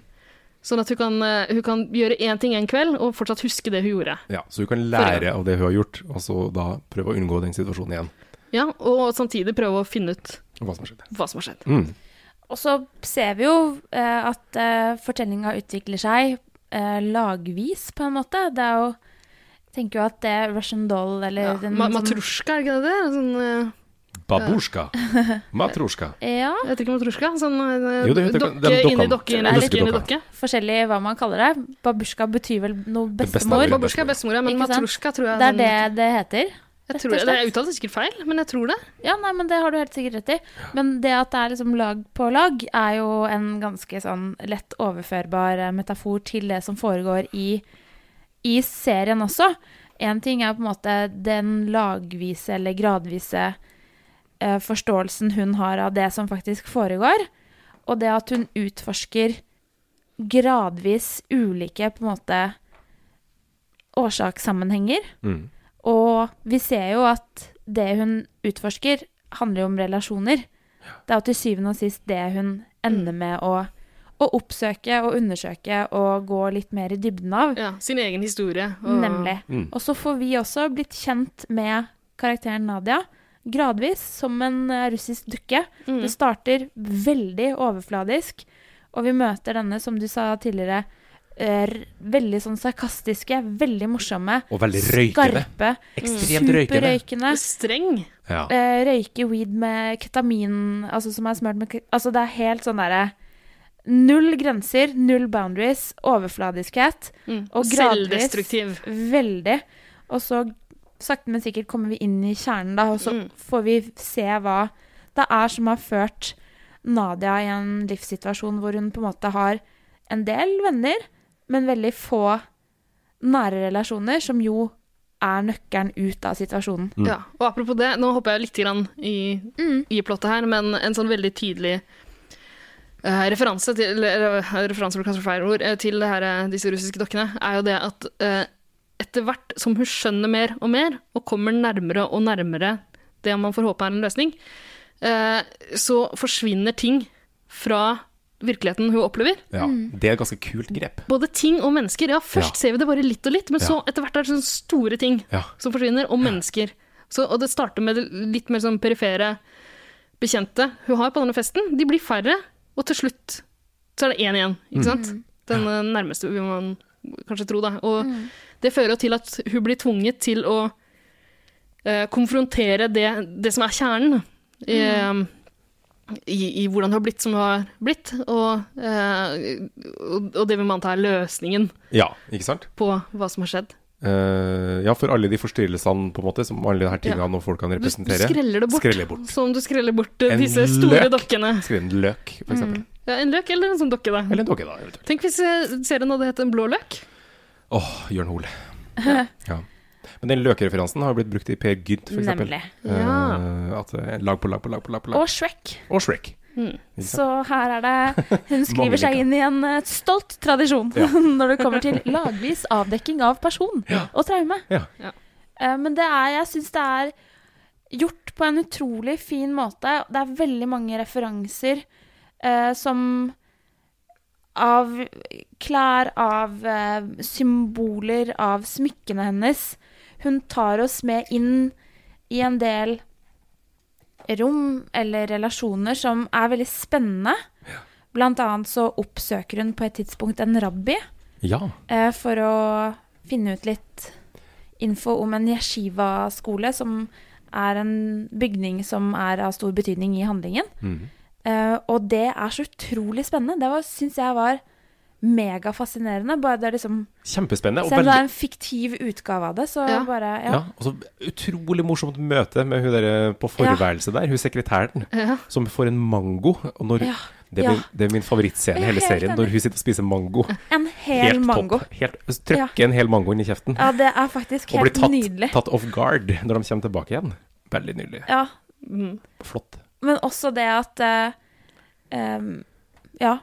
Sånn at hun kan, eh, hun kan gjøre én ting en kveld og fortsatt huske det hun gjorde. Ja, så hun kan lære av det hun har gjort, og så da prøve å unngå den situasjonen igjen. Ja, og samtidig prøve å finne ut Hva som har skjedd. hva som har skjedd. *laughs* Mm. Og så ser vi jo eh, at eh, fortellinga utvikler seg eh, lagvis, på en måte. Det er jo jeg tenker jo at det Russian Doll eller Ja. den Ma som- matrusjka, er det ikke det det? er? Sånn, eh, Babusjka. Matrusjka. Ja, jeg vet ikke matrusjka. Sånn eh, Jo, det heter- dokke den dokka. inni dokke, inni Den dokke, inni dokkedokka. dokke. forskjellig hva man kaller det. Babusjka betyr vel noe Det beste bestemor. er vel- Babusjka er bestemora, men Ikke sant? matrusjka tror jeg Det er det sånn- det heter. Jeg, tror det, rett og det, slett. jeg uttaler sikkert feil, men jeg tror det. Ja, nei, men det har du helt sikkert rett i. Men det at det er liksom lag på lag, er jo en ganske sånn lett overførbar eh, metafor til det som foregår i, i serien også. En ting er på en måte den lagvise eller gradvise eh, forståelsen hun har av det som faktisk foregår, og det at hun utforsker gradvis ulike på en måte årsakssammenhenger. Mm. Og vi ser jo at det hun utforsker, handler jo om relasjoner. Det er jo til syvende og sist det hun ender med å, å oppsøke og undersøke og gå litt mer i dybden av. Ja, sin egen historie. og- Nemlig. Mm. Og så får vi også blitt kjent med karakteren Nadia. Gradvis, som en eh, russisk dukke. Det starter veldig overfladisk, og vi møter denne, som du sa tidligere, eh, r- veldig sånn sarkastiske, veldig morsomme, Og veldig røykende. skarpe, Ekstremt røykende. superrøykende. Streng. Ja. Eh, røyke weed med ketamin, altså som er smørt med ke- Altså det er helt sånn derre Null grenser, null boundaries, overfladiskhet. Og gradvis Selvdestruktiv. Veldig. Og så sakte, men sikkert kommer vi inn i kjernen, da, og så Mm. får vi se hva det er som har ført Nadia i en livssituasjon hvor hun på en måte har en del venner, men veldig få nære relasjoner, som jo er nøkkelen ut av situasjonen. Mm. Ja. Og apropos det, nå hopper jeg litt grann i, i plottet her, men en sånn veldig tydelig eh, referanse til eller, eh, referanse blir kanskje feil ord, eh, til det her, eh, disse russiske dokkene, er jo det at eh, etter hvert som hun skjønner mer og mer, og kommer nærmere og nærmere det man får håpe er en løsning, eh, så forsvinner ting fra virkeligheten hun opplever. ja. Det er et ganske kult grep. Både ting og mennesker. Ja, først Ja. ser vi det bare litt og litt, men Ja. så etter hvert er det sånne store ting Ja. som forsvinner, og mennesker. Så, og det starter med det litt mer sånn perifere bekjente hun har på denne festen. De blir færre, og til slutt så er det én igjen, ikke sant? Den eh, nærmeste vil man kanskje tro, da. Og det fører jo til at hun blir tvunget til å eh, konfrontere det, det som er kjernen. I, eh, i, I hvordan hun har blitt som hun har blitt, og, eh, og, og det vil man ta er løsningen Ja, ikke sant? på hva som har skjedd. Eh, ja, for alle de forstyrrelsene, på en måte, som alle de her tingene Ja. og folkene Du, du representerer. skreller det bort, Skreller bort. som du skreller bort eh, En disse store løk. dokkene. Skriv en løk, for eksempel. Ja, en løk eller en sånn dokke, da. Eller en dokke, da. eventuelt. Tenk hvis eh, serien hadde hett En blå løk. Åh, Jørn Hoel. Ja. Men den løkreferansen har jo blitt brukt i Per Gynt, for eksempel. Nemlig. Eh, at det er lag på lag på lag på lag. på lag. Og Shrek. Og Shrek. Så her er det *laughs* Hun skriver seg liker. inn i en eh, stolt tradisjon *laughs* når det kommer til lagvis avdekking av person og traume. Ja. Ja. Eh, Men det er Jeg syns det er gjort på en utrolig fin måte. Det er veldig mange referanser eh, som Av klær, av eh, symboler, av smykkene hennes. Hun tar oss med inn i en del rom eller relasjoner som er veldig spennende. Blant annet så oppsøker hun på et tidspunkt en rabbi Ja. eh, for å finne ut litt info om en yeshiva-skole, som er en bygning som er av stor betydning i handlingen. Mhm. Eh, og det er så utrolig spennende. Det syns jeg var megafascinerende. Bare det er liksom Kjempespennende. Og Selv om det veldig er en fiktiv utgave av det, så Ja. bare ja. ja, altså, Utrolig morsomt møte med hun der eh, på forværelset der, hun sekretæren, Ja. som får en mango. Og når, Ja, det, er ja. min, det er min favorittscene i Jeg er hele helt serien, når enig. hun sitter og spiser mango. En hel Helt mango. topp. Helt, trykke en hel mango inn i kjeften. Ja, det er faktisk og bli helt tatt, nydelig. tatt off guard når de kommer tilbake igjen. Veldig nydelig. Ja, Mm. Flott. Men også det at eh, em, Ja,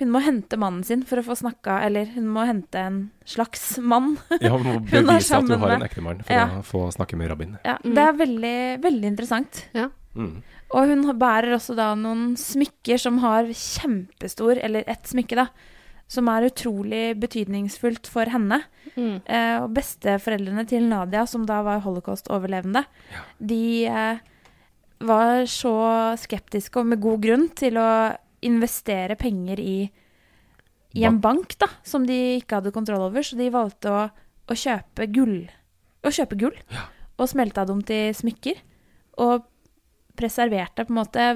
hun må hente mannen sin for å få snakka Eller hun må hente en slags mann. *laughs* Ja, man må er bevise at du sammen har en med- ekte mann for Ja. å få snakke med rabbin. Ja, Det er veldig, veldig interessant. Ja. Mm. Og hun bærer også da noen smykker som har kjempestor Eller ett smykke, da. Som er utrolig betydningsfullt for henne. Mm. Eh, og besteforeldrene til Nadia, som da var holocaust-overlevende, de eh, var så skeptiske, og med god grunn, til å investere penger i, i en bank da, som de ikke hadde kontroll over. Så de valgte å, å kjøpe gull. Å kjøpe gull og smelta dem til smykker. Og preserverte på en måte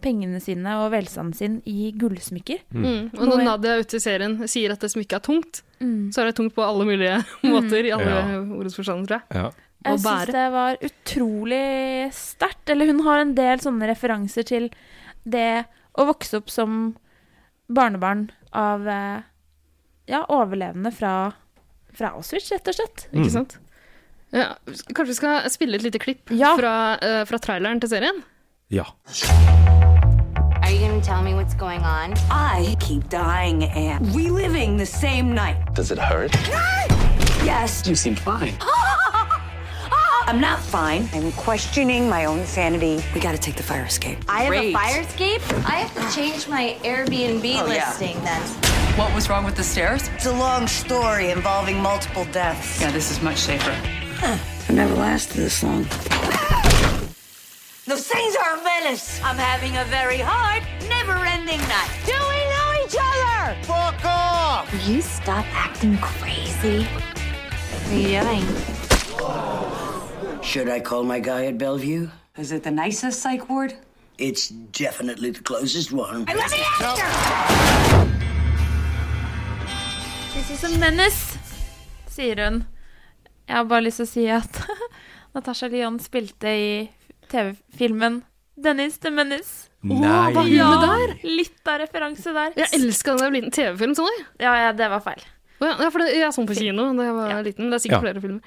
pengene sine og velstanden sin i gullsmykker. Mm. Og når Nadia ute i serien sier at det smykket er tungt, Mm. så er det tungt på alle mulige *laughs* måter, i alle Ja. ordets forstand, tror jeg. Ja. Å Jeg syns bære. det var utrolig sterkt. Eller hun har en del sånne referanser til det å vokse opp som barnebarn av eh, ja, overlevende fra, fra Auschwitz, rett og slett. Mm. Ikke sant? Ja, kanskje vi skal spille et lite klipp Ja. fra, eh, fra traileren til serien? ja. Are you gonna tell me what's going on? I keep dying and reliving the same night. Does it hurt? Yes, You seem fine. *laughs* I'm not fine. I'm questioning my own sanity. We gotta take the fire escape. I have a fire escape? I have to change my Airbnb listing then. Oh, What was wrong with the stairs? It's a long story involving multiple deaths. Yeah, this is much safer. I've never lasted this long. Those things are a menace. I'm having a very hard, never-ending night. Do we know each other? Fuck off! Will you stop acting crazy? What are you doing? Should I call my guy at Bellevue? Is it the nicest psych ward? It's definitely the closest one. Let me ask her! This is a menace, sier hun. Jeg har bare lyst til å si at *laughs* Natasha Lyon spilte i TV-filmen 'Dennis the Menace'. Nei! hva gjør du der? Litt av referanse der. Jeg elska den da jeg var liten. TV-film, sånn jeg. Ja, ja, det var feil. Å Ja, ja, for det, jeg så den på kino da jeg var liten. Det er sikkert Ja. Ah. flere filmer.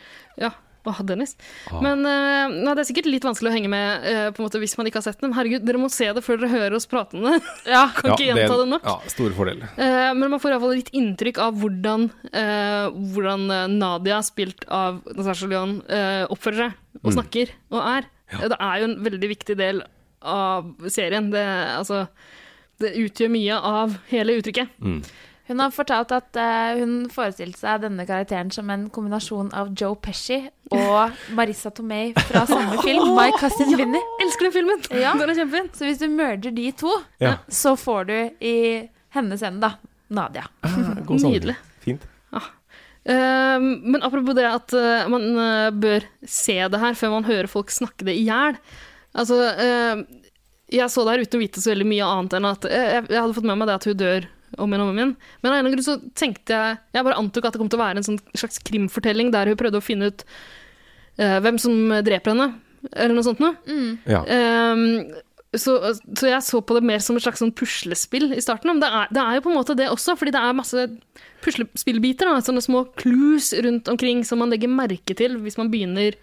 Ja. Åh, Dennis. Men eh, nei, det er sikkert litt vanskelig å henge med eh, på en måte, hvis man ikke har sett den. Herregud, dere må se det før dere hører oss prate om det. kan ikke *laughs* Ja, er gjenta det, en- nok. Ja, Stor fordel. Eh, men man får iallfall litt inntrykk av hvordan, eh, hvordan eh, Nadia, spilt av Natasha Lyon, eh, oppfører seg Mm. og snakker og er. Det er jo en veldig viktig del av serien. Det, altså, det utgjør mye av hele uttrykket. Mm. Hun har fortalt at eh, hun forestilte seg denne karakteren som en kombinasjon av Joe Pesci *laughs* og Marissa Tomei fra samme film, My Cousin Vinny. Elsker den filmen! Ja. Den er kjempefin. Så hvis du merger de to, Ja. så får du i hennes ende, da, Nadia. Ah, God sammenheng. Nydelig. Fint. Eh, men apropos det at eh, man eh, bør se det her før man hører folk snakke det i hjel. Altså, eh, jeg så det her uten å vite så veldig mye annet enn at eh, jeg, jeg hadde fått med meg det at hun dør om igjen og om igjen. Men av en eller annen grunn så tenkte jeg Jeg bare antok at det kom til å være en sånn slags krimfortelling der hun prøvde å finne ut eh, hvem som dreper henne, eller noe sånt noe. Ja. Ehm, så, så jeg så på det mer som et slags sånn puslespill i starten. Men det er, det er jo på en måte det også, fordi det er masse puslespillbiter. Da, sånne små clues rundt omkring som man legger merke til hvis man begynner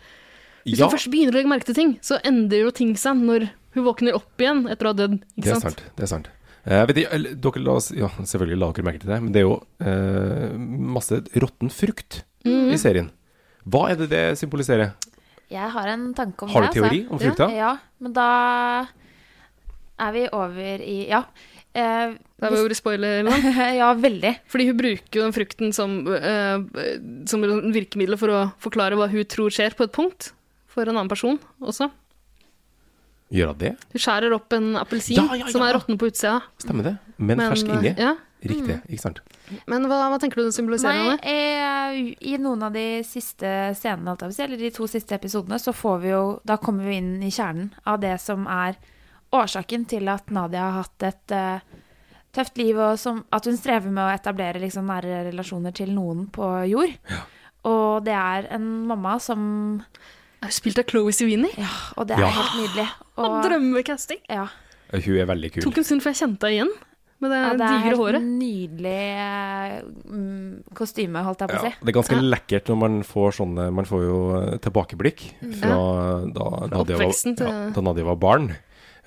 Hvis Ja. man først begynner å legge merke til ting, så endrer jo ting seg når hun Hun våkner opp igjen etter å ha dødd. Ikke Det er sant? sant. Det er sant. Eh, vet ikke, eller, dere la oss, ja, selvfølgelig la dere merke til det, men det er jo eh, masse råtten frukt Mhm. i serien. Hva er det det symboliserer? Jeg har en tanke om Har du det. teori om frukta? Ja, ja, men da er vi over i Ja. Eh, Det er jo spoiler-land. *laughs* ja, veldig. Fordi hun bruker jo den frukten som, eh, som en virkemiddel for å forklare hva hun tror skjer på et punkt. For en annen person også. Gjør hun det? Hun skjærer opp en appelsin Ja, ja, ja. som er råtten på utsida. Stemmer det? Men, Men, eh, fersk inni? ja. Mm. Riktig, ikke sant? Men hva, hva tenker du den symboliserer? Nei, Anne? eh, i noen av de siste scenene, holdt jeg på å si, eller de to siste episodene, så får vi jo Da kommer vi inn i kjernen av det som er årsaken til at Nadia har hatt et eh, tøft liv, og som, at hun strever med å etablere liksom, nære relasjoner til noen på jord. Og det er en mamma som Er hun spilt av Chloé Sevigny? Ja, og det er Ja. helt nydelig. Og drømmecasting! Ja. Eh, Hun er veldig kul. Tok en stund før jeg kjente henne igjen med det, Ja, det er Eh, digre helt håret. nydelig eh, mm, kostyme, holdt jeg på Ja, å si. det er ganske lekkert når man får sånne Man får jo eh, tilbakeblikk fra da, Nadia var, oppveksten til- ja, da Nadia var barn.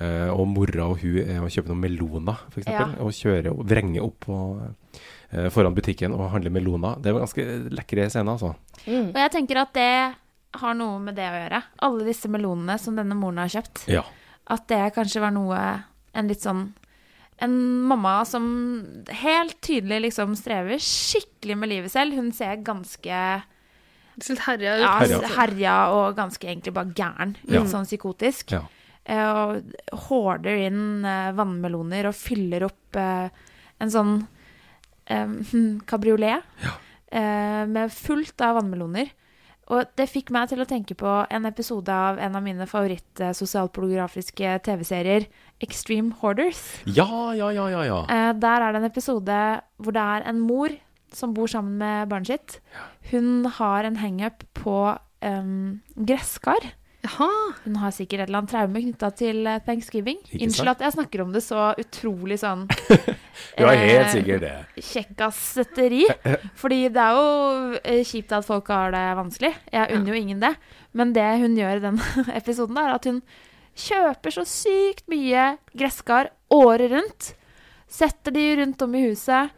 Eh, og mora og hun er og kjøper noen meloner, f.eks. eksempel Ja. Og kjører og vrenger opp på, eh, foran butikken og handler meloner. Det var ganske lekre scener, altså. Og jeg tenker at det har noe med det å gjøre. Alle disse melonene som denne moren har kjøpt. Ja. At det kanskje var noe En litt sånn En mamma som helt tydelig liksom strever skikkelig med livet selv. Hun ser ganske Litt herja ut. ja, Herja. herja og ganske egentlig bare gæren. Litt altså. Ja. sånn psykotisk. Ja. Eh, og hårder inn eh, vannmeloner og fyller opp eh, en sånn eh, *laughs* hm, kabriolet eh, med fullt av vannmeloner. Og det fikk meg til å tenke på en episode av en av mine eh, favoritt-sosialpornografiske TV-serier, Extreme Hoarders. ja, ja, ja, ja. ja. Eh, der er det en episode hvor det er en mor som bor sammen med barnet sitt. Hun har en hangup på em, gresskar. Jaha. Hun har sikkert et eller annet traume knytta til eh, thanksgiving. Ikke sant? Unnskyld at jeg snakker om det så utrolig sånn *laughs* Du er helt eh, sikker det. Kjekkassetteri. Fordi det er jo eh, kjipt at folk har det vanskelig. Jeg unner jo ingen det. Men det hun gjør i den *laughs* episoden, da, er at hun kjøper så sykt mye gresskar året rundt. Setter de rundt om i huset,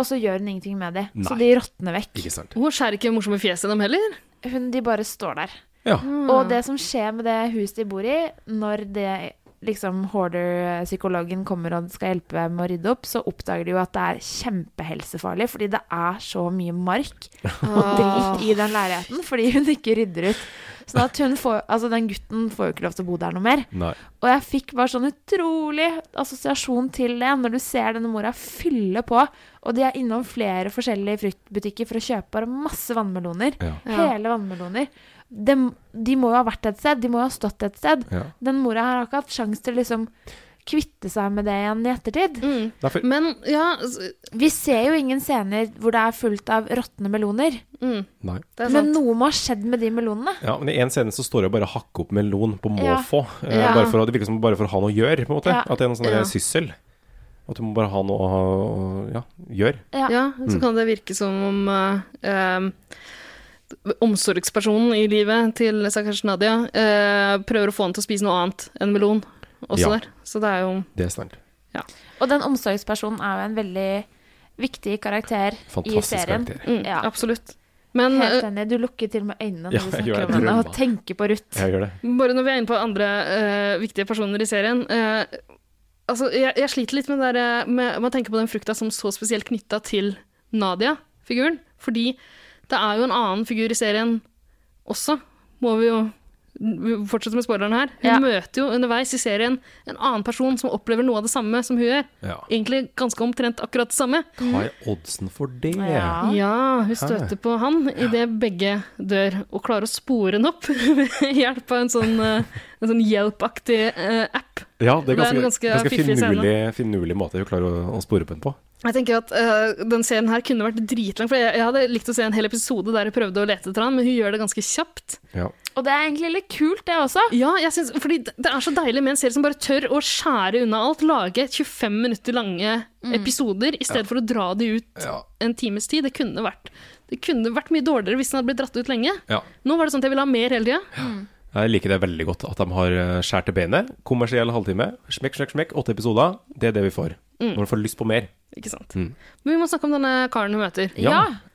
og så gjør hun ingenting med de. Så Nei. de råtner vekk. Ikke sant. Hun skjærer ikke morsomme fjes i dem heller. Hun, de bare står der. Ja. Og det som skjer med det huset de bor i, når det liksom hoarder-psykologen kommer og skal hjelpe med å rydde opp, så oppdager de jo at det er kjempehelsefarlig, fordi det er så mye mark og Ah. dritt i den leiligheten fordi hun ikke rydder ut. Sånn at hun får, altså den gutten får jo ikke lov til å bo der noe mer. Nei. Og jeg fikk bare sånn utrolig assosiasjon til det når du ser denne mora fylle på. Og de er innom flere forskjellige fruktbutikker for å kjøpe bare masse vannmeloner. Ja. Hele vannmeloner. De, de må jo ha vært et sted, de må jo ha stått et sted. Ja. Den mora her har ikke hatt sjanse til å liksom kvitte seg med det igjen i ettertid. Nei, for, Mm. Men ja, s- Vi ser jo ingen scener hvor det er fullt av råtne meloner. nei. mm, det er sant. Men noe må ha skjedd med de melonene. Ja, men I en scene så står jeg bare og hakker opp melon på Ja. måfå. eh, Ja. bare for å- Det virker som bare for å ha noe å gjøre, på en måte. Ja. At det er noe sånn Ja. der syssel. At du må bare ha noe å ha- ja, gjøre. Ja. Ja, Mm. så kan det virke som om eh, eh, omsorgspersonen i livet til stakkars Nadia eh, prøver å få henne til å spise noe annet enn melon også Ja. der. Så det er jo Det er sant. Og den omsorgspersonen er jo en veldig viktig karakter i Fantastisk serien. karakter. mm, Ja. Absolutt. Men Helt eh, enig. Du lukker til og med øynene når Ja, du jeg gjør snakker om det. henne, og Drømmer. tenker på Ruth. Jeg gjør det. bare når vi er inne på andre eh, viktige personer i serien eh, Altså, jeg, jeg sliter litt med, det der, eh, med, med å tenke på den frukta som så spesielt knytta til Nadia-figuren. Fordi det er jo en annen figur i serien også, må vi jo vi fortsetter med spoileren her. Hun Ja. møter jo underveis i serien en annen person som opplever noe av det samme som hun gjør. Ja. Egentlig ganske omtrent akkurat det samme. Hva er oddsen for det? Ja. Ja, hun støter på han idet begge dør, og klarer å spore han opp *laughs* ved hjelp av en sånn, eh, en sånn hjelpaktig eh, app. Ja, det er Det er ganske, en ganske, ganske fiffig scene. finurlig, finurlig måte hun klarer å, å spore på den på. Jeg tenker at eh, den serien her kunne vært dritlang, for jeg, jeg hadde likt å se en hel episode der jeg prøvde å lete etter han, men hun gjør det ganske kjapt. Ja. Og det er egentlig litt kult, det også. Ja, jeg synes, fordi det det er så deilig med en serie som bare tør å skjære unna alt, lage 25 minutter lange episoder, i stedet for å dra de ut Ja. en times tid. Det kunne vært, det kunne vært mye dårligere hvis den hadde blitt dratt ut lenge. Ja. Nå var det sånn at jeg ville ha mer hele tida. Jeg liker det veldig godt at de har eh, skjært til beinet. Kommersiell halvtime. Smekk, smekk, smekk. Åtte episoder. Det er det vi får. Mm. Når du får lyst på mer. Ikke sant. Mm. Men vi må snakke om denne karen hun møter.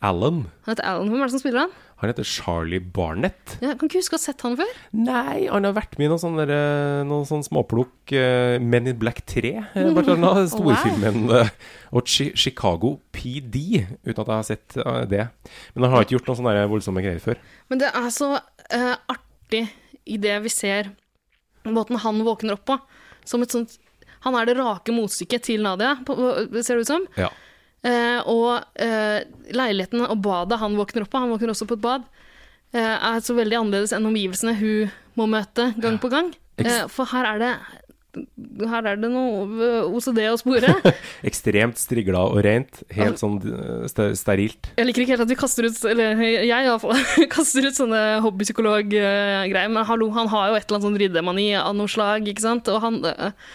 Alan. Han heter Alan. Hvem er det som spiller han? Han heter Charlie Barnett. Jeg kan ikke huske å ha sett han før. Nei, han har vært med i noen sånne, der, eh, noen sånne småplukk. eh, Men in Black 3, eh, blant annet. Wow. Storfilmen. eh, Og Chi Chicago PD, uten at jeg har sett eh, det. Men han har ikke gjort noen sånne der voldsomme greier før. Men det er så eh, artig i det vi ser måten han våkner opp på. Som et sånt Han er det rake motstykket til Nadia, på, på- ser det ut som. Ja. Eh, og eh, leiligheten og badet han våkner opp på, han våkner også på et bad, eh, er så veldig annerledes enn omgivelsene hun må møte gang på gang. Eh, for her er det her er det noe eh, OCD å spore. Ekstremt strigla og rent. Helt sånn eh, ste- sterilt. Jeg liker ikke helt at vi kaster ut Eller jeg iallfall *laughs* kaster ut sånne hobbypsykolog-greier, men hallo, han har jo et eller annet sånn ryddemani av noe slag, ikke sant? Og han eh,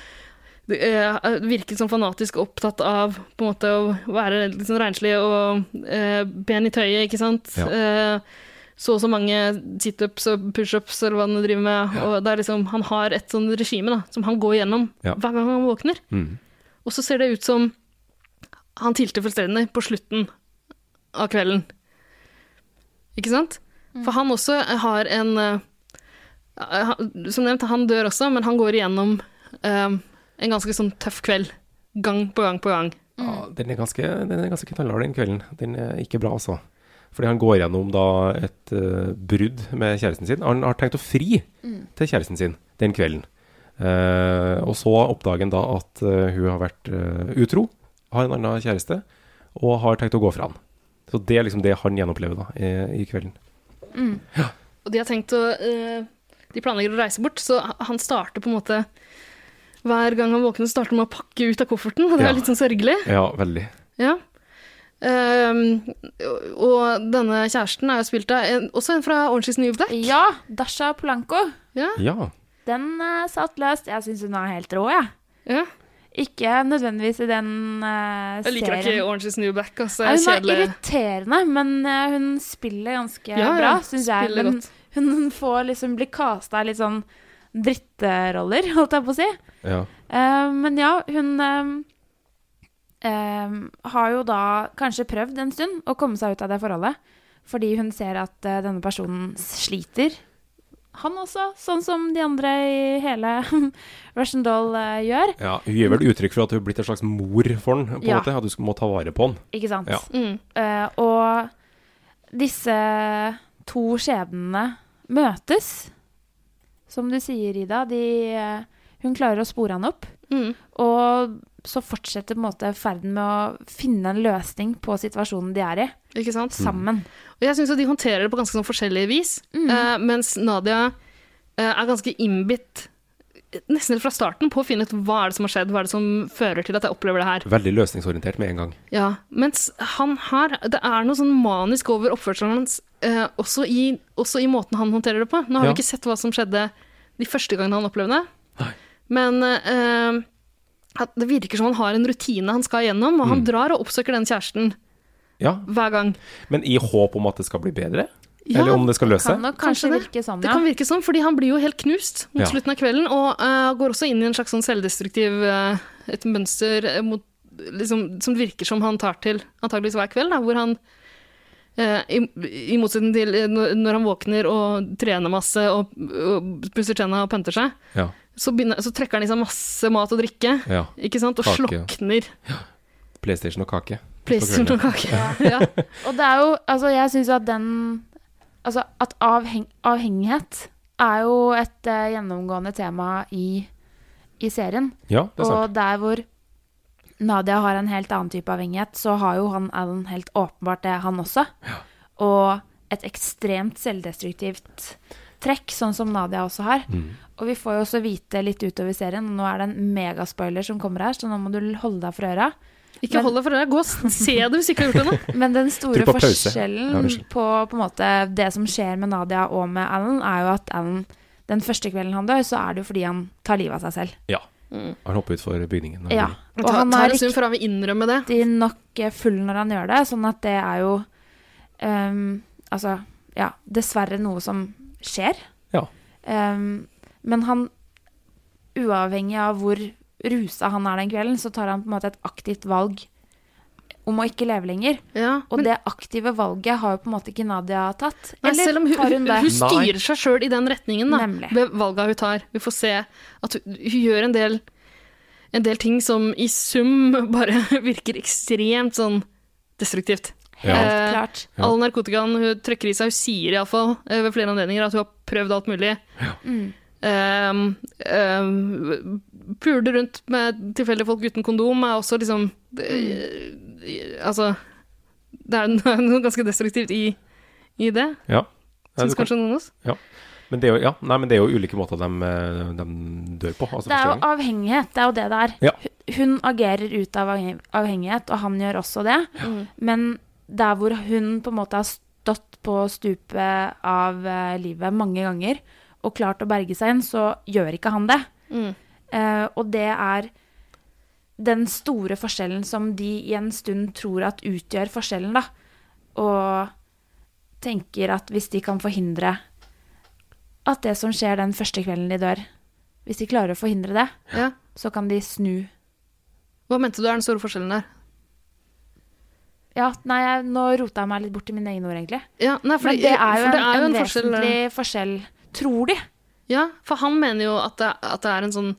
det, eh, virket som fanatisk opptatt av på en måte å være litt sånn renslig og eh, ben i tøyet, ikke sant? Ja. Eh, så og så mange situps og pushups eller hva han driver med. Og det er liksom, han har et sånn regime da, som han går gjennom Ja. hver gang han våkner. Mm. Og så ser det ut som han tilte fullstendig på slutten av kvelden. Ikke sant? For han også har en eh, han- Som nevnt, han dør også, men han går igjennom eh, en ganske sånn tøff kveld. Gang på gang på gang. Ja, den er ganske, den er ganske knallhard den kvelden. Den er ikke bra, altså. Fordi han går gjennom da et eh, brudd med kjæresten sin. Han har tenkt å fri Mm. til kjæresten sin den kvelden. Eh, og så oppdager han da at eh, hun har vært eh, utro, har en annen kjæreste, og har tenkt å gå fra han. Så det er liksom det han gjenopplever da, i, i kvelden. Og de har tenkt å eh, De planlegger å reise bort, så han starter på en måte Hver gang han våkner, så starter han med å pakke ut av kofferten, og det Ja. er litt sånn sørgelig. Ja, veldig. Ja. Ehm, og denne kjæresten er jo spilt av en, også en fra Orange is the New Black. Ja, Dasha Polanco. Ja. Den eh, satt løst. Jeg syns hun er helt rå, jeg. Ja. Ikke nødvendigvis i den eh, serien. Jeg liker ikke Orange is the New Black. Altså, Nei, hun er kjedelig. irriterende, men eh, hun spiller ganske Ja, ja, bra, syns jeg. spiller Men godt. hun får liksom bli casta i litt sånn dritteroller, holdt jeg på å si. Ja. Eh, men ja, hun eh, eh, har jo da kanskje prøvd en stund å komme seg ut av det forholdet. Fordi hun ser at eh, denne personen sliter, han også. Sånn som de andre i hele *laughs* Russian Doll eh, gjør. ja. Hun gir vel uttrykk for at hun er blitt en slags mor for han, på en Ja. måte. At du må ta vare på han. Ikke sant? Ja. Mm. Eh, og disse to skjebnene møtes. Som du sier, Ida, de, eh, hun klarer å spore han opp. Mm, Og så fortsetter på en måte ferden med å finne en løsning på situasjonen de er i. Ikke sant? Mm. Sammen. Og jeg syns de håndterer det på ganske sånn forskjellig vis. Eh, mens Nadia eh, er ganske innbitt eh, nesten helt fra starten på å finne ut hva er det som har skjedd, hva er det som fører til at jeg opplever det her. Veldig løsningsorientert med en gang. Ja, mens han her Det er noe sånn manisk over oppførselen hans, eh, også, i, også i måten han håndterer det på. Nå har Ja. vi ikke sett hva som skjedde de første gangene han opplevde det. Men eh, at det virker som han har en rutine han skal igjennom, og han Mm. drar og oppsøker den kjæresten Ja. hver gang. Men i håp om at det skal bli bedre? Ja, Eller om det skal løse seg? nok kanskje det. virke sånn, Det ja. kan virke sånn, fordi han blir jo helt knust mot Ja. slutten av kvelden, og eh, går også inn i en slags sånn selvdestruktiv eh, et mønster eh, mot, liksom, som det virker som han tar til antageligvis hver kveld, da, hvor han eh, i, I motsetning til eh, når når han våkner og trener masse og, og pusser tenna og pønter seg, Ja. så, begynner, så trekker han i seg masse mat og drikke, Ja. ikke sant, og Kake. slokner PlayStation og kake. PlayStation På og kvelden. kake. Og det er jo Altså, jeg syns jo at den Altså, at avheng, avhengighet er jo et eh, gjennomgående tema i, i serien. Ja, det er sant. Og der hvor Nadia har en helt annen type avhengighet, så har jo han Alan helt åpenbart det, han også. Og et ekstremt selvdestruktivt trekk, sånn som Nadia også har. Mm. Og vi får jo også vite litt utover serien, og nå er det en megaspoiler som kommer her, så nå må du holde deg for øra. Ikke hold deg for øra, gå og se det hvis ikke du har gjort det nå. Men den store Trykk på pause. forskjellen Ja, på, på en måte, det som skjer med Nadia og med Alan, er jo at Alan, den første kvelden han dør, så er det jo fordi han tar livet av seg selv. Ja. Har han hoppet utfor bygningen? Ja. Og ta, er tar en stund før han vil innrømme det. riktig nok eh, full når han gjør det, sånn at det er jo ehm, Altså, ja, dessverre noe som skjer. Ja. Ehm, men han, uavhengig av hvor rusa han er den kvelden, så tar han på en måte et aktivt valg om å ikke leve lenger. og det aktive valget har jo på en måte ikke Nadia tatt. Nei, eller selv om hun, har hun, hun det? hun styrer seg sjøl i den retningen, da, Nemlig. ved valga hun tar. Vi får se at hun, hun gjør en del, en del ting som i sum *laughs* bare virker ekstremt sånn destruktivt. Helt klart. Eh, All narkotikaen hun trykker i seg, hun sier iallfall ved flere anledninger at hun har prøvd alt mulig. Mm. Um, um, Pule rundt med tilfeldige folk uten kondom er også liksom det- Altså Det er *laughs* noe ganske destruktivt i, i det, Ja. Nei, syns du kan- kanskje noen av oss. ja. Men, det er jo, ja. Nei, men det er jo ulike måter de, eh, de dør på. Altså, Det er jo forskjellig. avhengighet, det er jo det det er. Ja. Hu- Hun agerer ut av avheng- avhengighet, og han gjør også det. Men der hvor hun på en måte har stått på stupet av eh, livet mange ganger og klart å berge seg inn, så gjør ikke han det. Mm. Eh, og det er den store forskjellen som de i en stund tror at utgjør forskjellen, da. Og tenker at hvis de kan forhindre at det som skjer den første kvelden de dør, hvis de klarer å forhindre det, Ja. så kan de snu. Hva mente du er den store forskjellen der? Ja, nei, jeg, nå rota jeg meg litt bort i mine egne ord, egentlig. Ja, nei, fordi, Men det er jo en, for det er jo en, en forskjell, eh. vesentlig forskjell, tror de. Ja, for han mener jo at det, at det er en sånn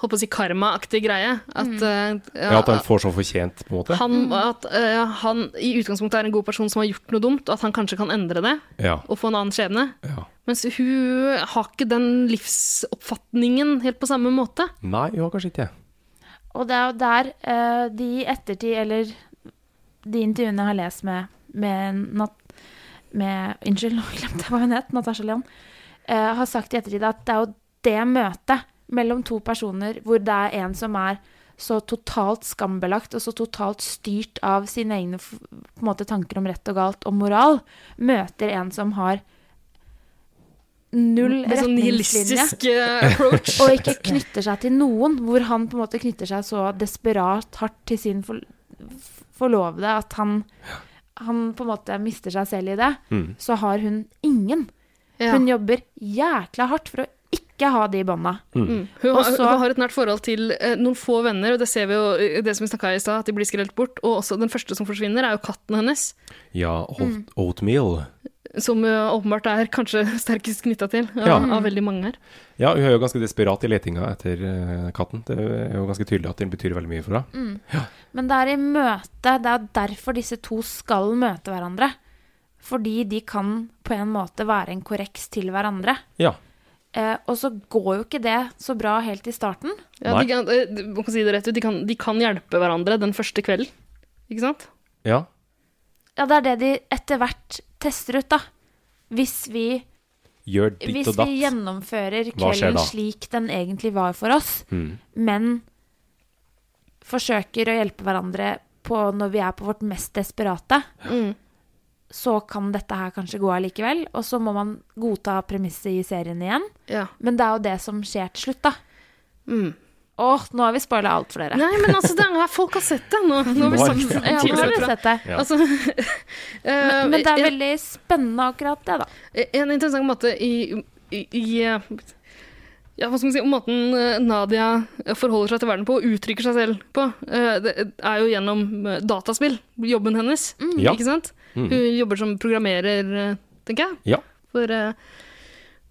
holdt på å si karma-aktig greie. At, Mm. eh, Ja, at han får som fortjent, på en måte. han, at eh, han i utgangspunktet er en god person som har gjort noe dumt, og at han kanskje kan endre det Ja. og få en annen skjebne. Ja. Mens hun har ikke den livsoppfatningen helt på samme måte. Nei, jo, kanskje ikke. Og det er jo der eh, de i ettertid, eller de intervjuene jeg har lest med, med, Nat, med Unnskyld, *laughs* nå glemte jeg hva hun het, Natasha Leon, eh, har sagt i ettertid at det er jo det møtet mellom to personer hvor det er en som er så totalt skambelagt og så totalt styrt av sine egne f- på en måte, tanker om rett og galt og moral, møter en som har null Med sånn retningslinje nihilistisk eh, *laughs* approach. og ikke knytter seg til noen, hvor han på en måte knytter seg så desperat hardt til sin for, forlovede at han, han på en måte mister seg selv i det, Mm. så har hun ingen. Ja. Hun jobber jækla hardt for å ikke ha de bånda. Mm. Hun, har, Og så- hun har et nært forhold til eh, noen få venner, og det ser vi jo eh, det som vi snakka i stad, at de blir skrelt bort. Og også den første som forsvinner, er jo katten hennes, Ja, oat, oatmeal. som eh, åpenbart er kanskje *laughs* sterkest knytta til Ja. av, av veldig mange her. Ja, hun er jo ganske desperat i letinga etter eh, katten. Det er jo ganske tydelig at den betyr veldig mye for henne. Men det er i møte, det er derfor disse to skal møte hverandre. Fordi de kan på en måte være en korreks til hverandre. Ja. Eh, og så går jo ikke det så bra helt i starten. Ja, Nei. de, kan, eh, de- man kan si det rett ut, de kan, de kan hjelpe hverandre den første kvelden, ikke sant? Ja. Ja, det er det de etter hvert tester ut, da. Hvis vi, Gjør ditt hvis og vi datt. gjennomfører Hva skjer kvelden da? slik den egentlig var for oss, Mm. men forsøker å hjelpe hverandre på når vi er på vårt mest desperate, Mm. så kan dette her kanskje gå allikevel. Og så må man godta premisset i serien igjen. Ja. Men det er jo det som skjer til slutt, da. Mm. Åh, nå har vi spoila alt for dere. Nei, men altså, det er, folk har sett det. Nå, nå har vi Nå har sagt folk ja, Ja, folk nå har har vi sett det. sett det. Ja. Altså, *laughs* eh, Men det er jeg- veldig spennende akkurat det, da. Eh, En interessant måte i, i, i eh, ja, hva skal man si, Måten eh, Nadia forholder seg til verden på og uttrykker seg selv på, eh, det er jo gjennom eh, dataspill. Jobben hennes, Ja. ikke sant? Mm. Hun jobber som programmerer, eh, tenker jeg, Ja. for, eh,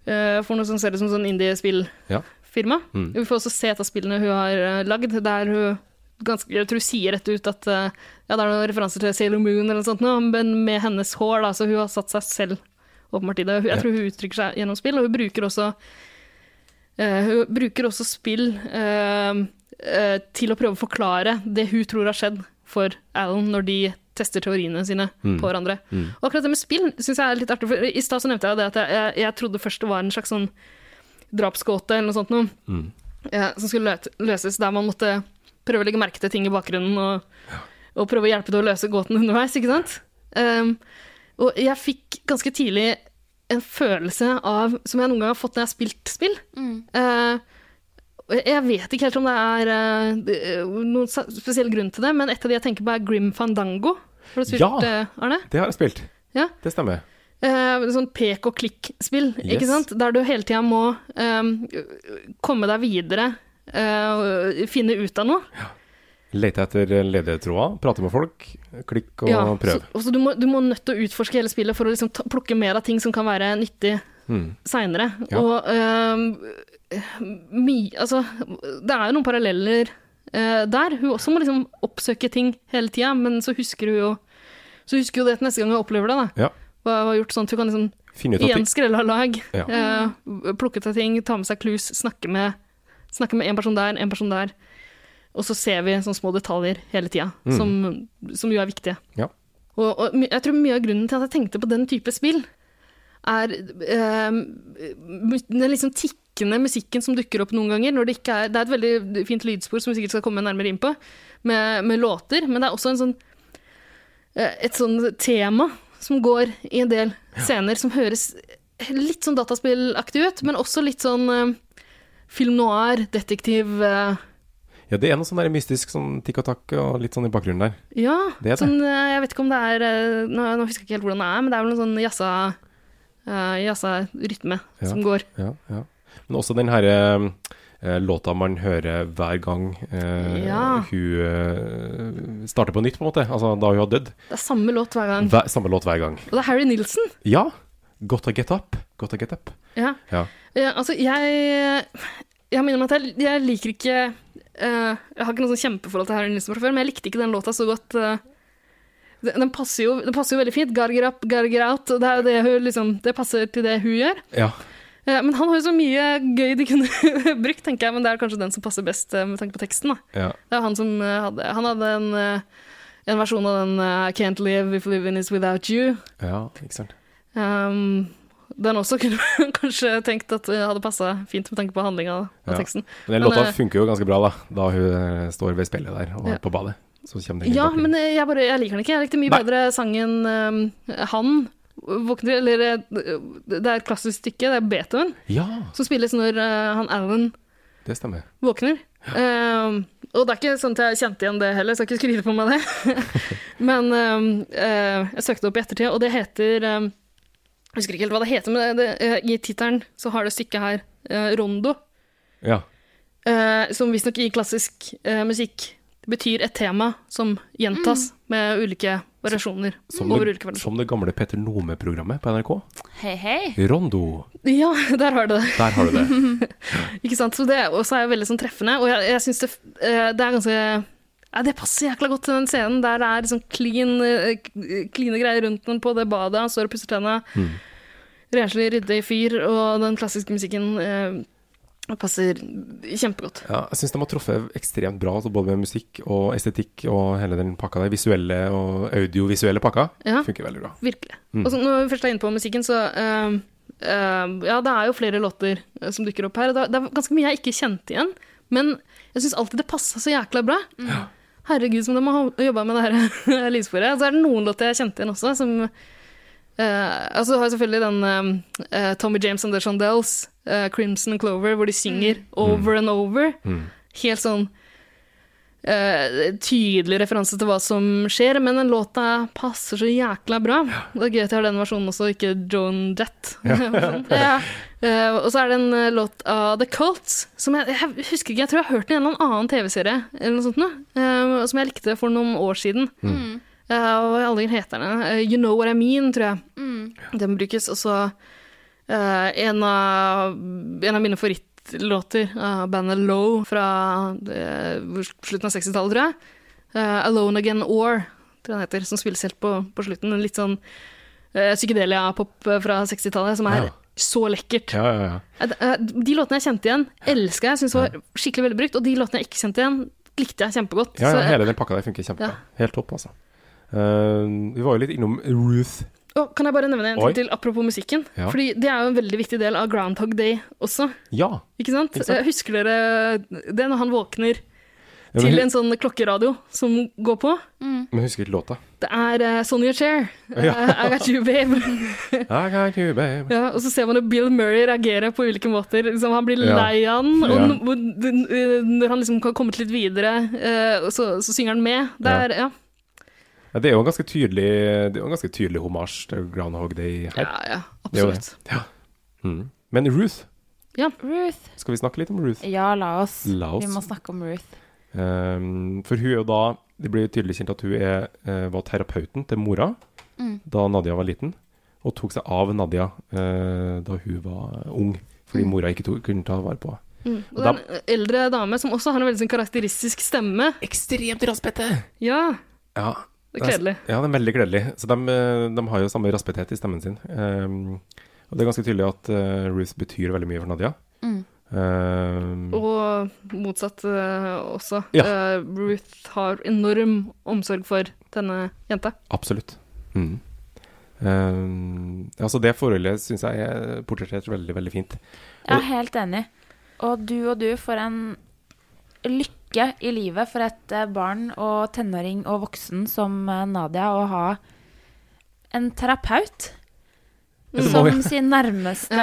eh, for noe som ser ut som sånn indie-spillfirma. Ja. Mm. Vi får også se et av spillene hun har eh, lagd, der hun ganske, jeg tror hun sier rett ut at eh, ja, det er noen referanser til Sailor Moon eller noe sånt, nå, men med hennes hår, da, så hun har satt seg selv åpenbart i det. Jeg tror hun uttrykker seg gjennom spill, og hun bruker også, eh, hun bruker også spill eh, eh, til å prøve å forklare det hun tror har skjedd for Alan når de tester teoriene sine Mm. på hverandre. Og akkurat det med spill syns jeg er litt artig, for i stad så nevnte jeg jo det at jeg, jeg, jeg trodde først det var en slags sånn drapsgåte eller noe sånt noe, Mm. eh, som skulle løt- løses, der man måtte prøve å legge merke til ting i bakgrunnen og, og prøve å hjelpe til å løse gåten underveis, ikke sant? Ehm, og jeg fikk ganske tidlig en følelse av, som jeg noen gang har fått når jeg har spilt spill Eh, og jeg- Jeg vet ikke helt om det er eh, det- eh, noen sa- spesiell grunn til det, men et av de jeg tenker på er Grim Fandango. Har du spilt Ja. det, Arne? Det har jeg spilt. Ja. Det stemmer. eh, sånn pek og klikk-spill, Yes. ikke sant? Der du hele tida må eh, komme deg videre, eh, finne ut av noe. Lete etter ledetråder, prate med folk, klikk og prøv. Så, og så du, må, du må nødt til å utforske hele spillet for å liksom ta, plukke mer av ting som kan være nyttig Mm. seinere. Ja. Og øhm, my, altså, det er jo noen paralleller øh, der. Hun også må liksom oppsøke ting hele tida, men så husker hun jo så husker hun det til neste gang hun opplever det. da. Ja. Hva hva hun har gjort sånn at hun kan liksom Finne ut at igjen de- skrelle av lag, Ja. øh, plukke til ting, ta med seg klus, snakke med snakke med en person der, en person der. Og så ser vi sånne små detaljer hele tida, Mm. som, som jo er viktige. Ja. Og, og my- jeg tror mye av grunnen til at jeg tenkte på den type spill, er eh, mu- den liksom tikkende musikken som dukker opp noen ganger. Når det, ikke er, det er et veldig fint lydspor som vi sikkert skal komme nærmere inn på, med, med låter. Men det er også en sånn, eh, et sånn tema som går i en del scener, som høres litt sånn dataspillaktig ut, men også litt sånn eh, film noir, detektiv eh, Ja, det er noe sånn der mystisk sånn tikk og takk og litt sånn i bakgrunnen der. Ja, Det er det. sånn, eh, jeg vet ikke om det er eh, nå, nå husker jeg ikke helt hvordan det er, men det er vel noen sånn jazza, eh, jazza-rytme Ja. som går. Ja, ja. Men også den herre eh, låta man hører hver gang eh, Ja. hun eh, starter på nytt, på en måte. Altså da hun har dødd. Det er samme låt hver gang. Hver, samme låt hver gang. Og det er Harry Nilsen. Ja! Gotta get up. Gotta get up. Ja. Ja. Ja, altså, jeg Jeg minner meg at jeg, jeg liker ikke eh, Jeg har ikke noe sånn kjempeforhold til Harry Nilsen fra før, men jeg likte ikke den låta så godt. eh. den, den, passer jo, den passer jo veldig fint. Garger up, garger out. og Det, er jo det, hun, liksom, det passer til det hun gjør. Ja. Eh, Men han har jo så mye gøy de kunne *laughs* brukt, tenker jeg. Men det er kanskje den som passer best eh, med tanke på teksten. Da. ja. Det er han som eh, hadde Han hadde en, eh, en versjon av den eh, I Can't live if living is without you. Ja, ikke sant. Um, den også kunne man *laughs* kanskje tenkt at eh, hadde passa fint med tanke på handlinga og Ja. teksten. Men den låta eh, funker jo ganske bra, da. Da hun eh, står ved speilet der og Ja. på badet. Så kommer den i Ja, bakgrunnen. men eh, jeg, bare, jeg liker den ikke. Jeg likte mye Nei. bedre sangen eh, Han våkner Eller eh, det er et klassisk stykke, det er Beethoven, Ja, som spilles når eh, han Alan det stemmer. våkner. Ehm, og det er ikke sånn at jeg kjente igjen det heller, så jeg skal ikke skryte på meg det. *laughs* men ehm, eh, jeg søkte opp i ettertid, og det heter ehm, Jeg husker ikke helt hva det heter, men det, det, eh, i tittelen så har det stykket her eh, Rondo, Ja. eh, som visstnok i klassisk eh, musikk betyr et tema som gjentas med ulike variasjoner. Mm. Som over det, ulike variasjoner. som det gamle Petter Nome-programmet på NRK. Hei, hei. Rondo. Ja, *laughs* der har du det. Der har du det. *laughs* Ikke sant? Så det også er jo veldig sånn treffende, og jeg, jeg syns det, f- eh, det er ganske ja, Det passer jækla godt til den scenen der det er liksom clean, eh, k- cleane greier rundt den på det badet, han står og pusser tenna, Mm. renslig, ryddig fyr, og den klassiske musikken eh, passer kjempegodt. Ja, jeg syns de har truffet ekstremt bra, altså både med musikk og estetikk og hele den pakka der. Visuelle og audiovisuelle pakka. Ja. Funker veldig bra. Virkelig. Mm. Og så når vi først er inne på musikken, så eh, eh, Ja, det er jo flere låter eh, som dukker opp her. og Det er- det er ganske mye jeg ikke kjente igjen, men jeg syns alltid det passa så jækla bra. Herregud, som de har jobba med det her *laughs* eh, lydsporet. Og så er det noen låter jeg kjente igjen også, som eh, Altså, du har selvfølgelig den eh, eh, Tommy James and the Shondells, eh, Crimson Clover, hvor de Mm. synger over and over. Helt sånn eh, tydelig referanse til hva som skjer, men den låta passer så jækla bra. Det er gøy at jeg har den versjonen også, ikke Joan Jett. *laughs* Ja. Eh, og så er det en eh, låt av The Cults, som jeg, jeg husker ikke, jeg tror jeg har hørt den i en eller annen TV-serie, eller noe sånt, nå, eh, som jeg likte for noen år siden. Mm. Eh, og jeg aldri heter den. eh, you Know What I Mean, tror jeg. Mm. Den brukes også en, av, en av mine favorittlåter av bandet Low fra eh, slutten av 60-tallet, tror jeg. Eh, Alone Again Or, tror jeg den heter, som spilles helt på, på slutten. En litt sånn eh, psykedelia-pop fra 60-tallet, som er Ja. så lekkert. Ja, ja, ja. Eh, eh, De låtene jeg kjente igjen, elska jeg, syntes var skikkelig velbrukt. Og de låtene jeg ikke kjente igjen, likte jeg kjempegodt. ja, ja Så- eh, hele den pakka der funker kjempebra. Helt topp, altså. Eh, vi var jo litt innom Ruth. Å, kan jeg bare nevne en Oi. ting til apropos musikken? Ja. Fordi det er jo en veldig viktig del av Groundhog Day også. Ja. Ikke sant? Ikke sant? Eh, Husker dere det når han våkner Ja, til men, en sånn klokkeradio som går på? men husker ikke *laughs* låta. Det er uh, Sonny Chair. Ja. *laughs* I got you, babe. I got you, babe. ja, og så ser man jo Bill Murray reagere på ulike måter. Liksom, han blir Ja. lei av den, og Ja. n- hvor- den, eh, når han liksom har kommet litt videre, eh, så, så synger han med. Det Ja. er, ja. Ja, det er jo en ganske tydelig Det er jo en ganske tydelig hommage til Groundhog Day her. Ja, ja, Det er jo det. absolutt. Ja. Mm. Men Ruth, Ja. Ruth. skal vi snakke litt om Ruth? Ja, la oss. La oss. Vi må snakke om Ruth. Ehm, for hun er jo da Det blir jo tydelig kjent at hun er, eh, var terapeuten til mora Mm. da Nadia var liten, og tok seg av Nadia eh, da hun var ung, Mm. fordi mora ikke tok, kunne ta vare på henne. Mm. Og Og det er en eldre dame som også har en veldig sånn karakteristisk stemme. Ekstremt raspete! Ja, Ja, det er kledelig. Ja, det er veldig gledelig. Så de, eh, de har jo samme raspethet i stemmen sin. Ehm, og det er ganske tydelig at eh, Ruth betyr veldig mye for Nadia. Mm. Ehm, Og motsatt eh, også. Ja. Eh, Ruth har enorm omsorg for denne jenta. Absolutt. Mm. Ehm, altså det forholdet syns jeg er portrettert veldig, veldig fint. Jeg er helt enig. Og du og du får en lykke i livet for et eh, barn og tenåring og voksen som eh, Nadia å ha en terapeut Ja, det må som jo- *laughs* sin nærmeste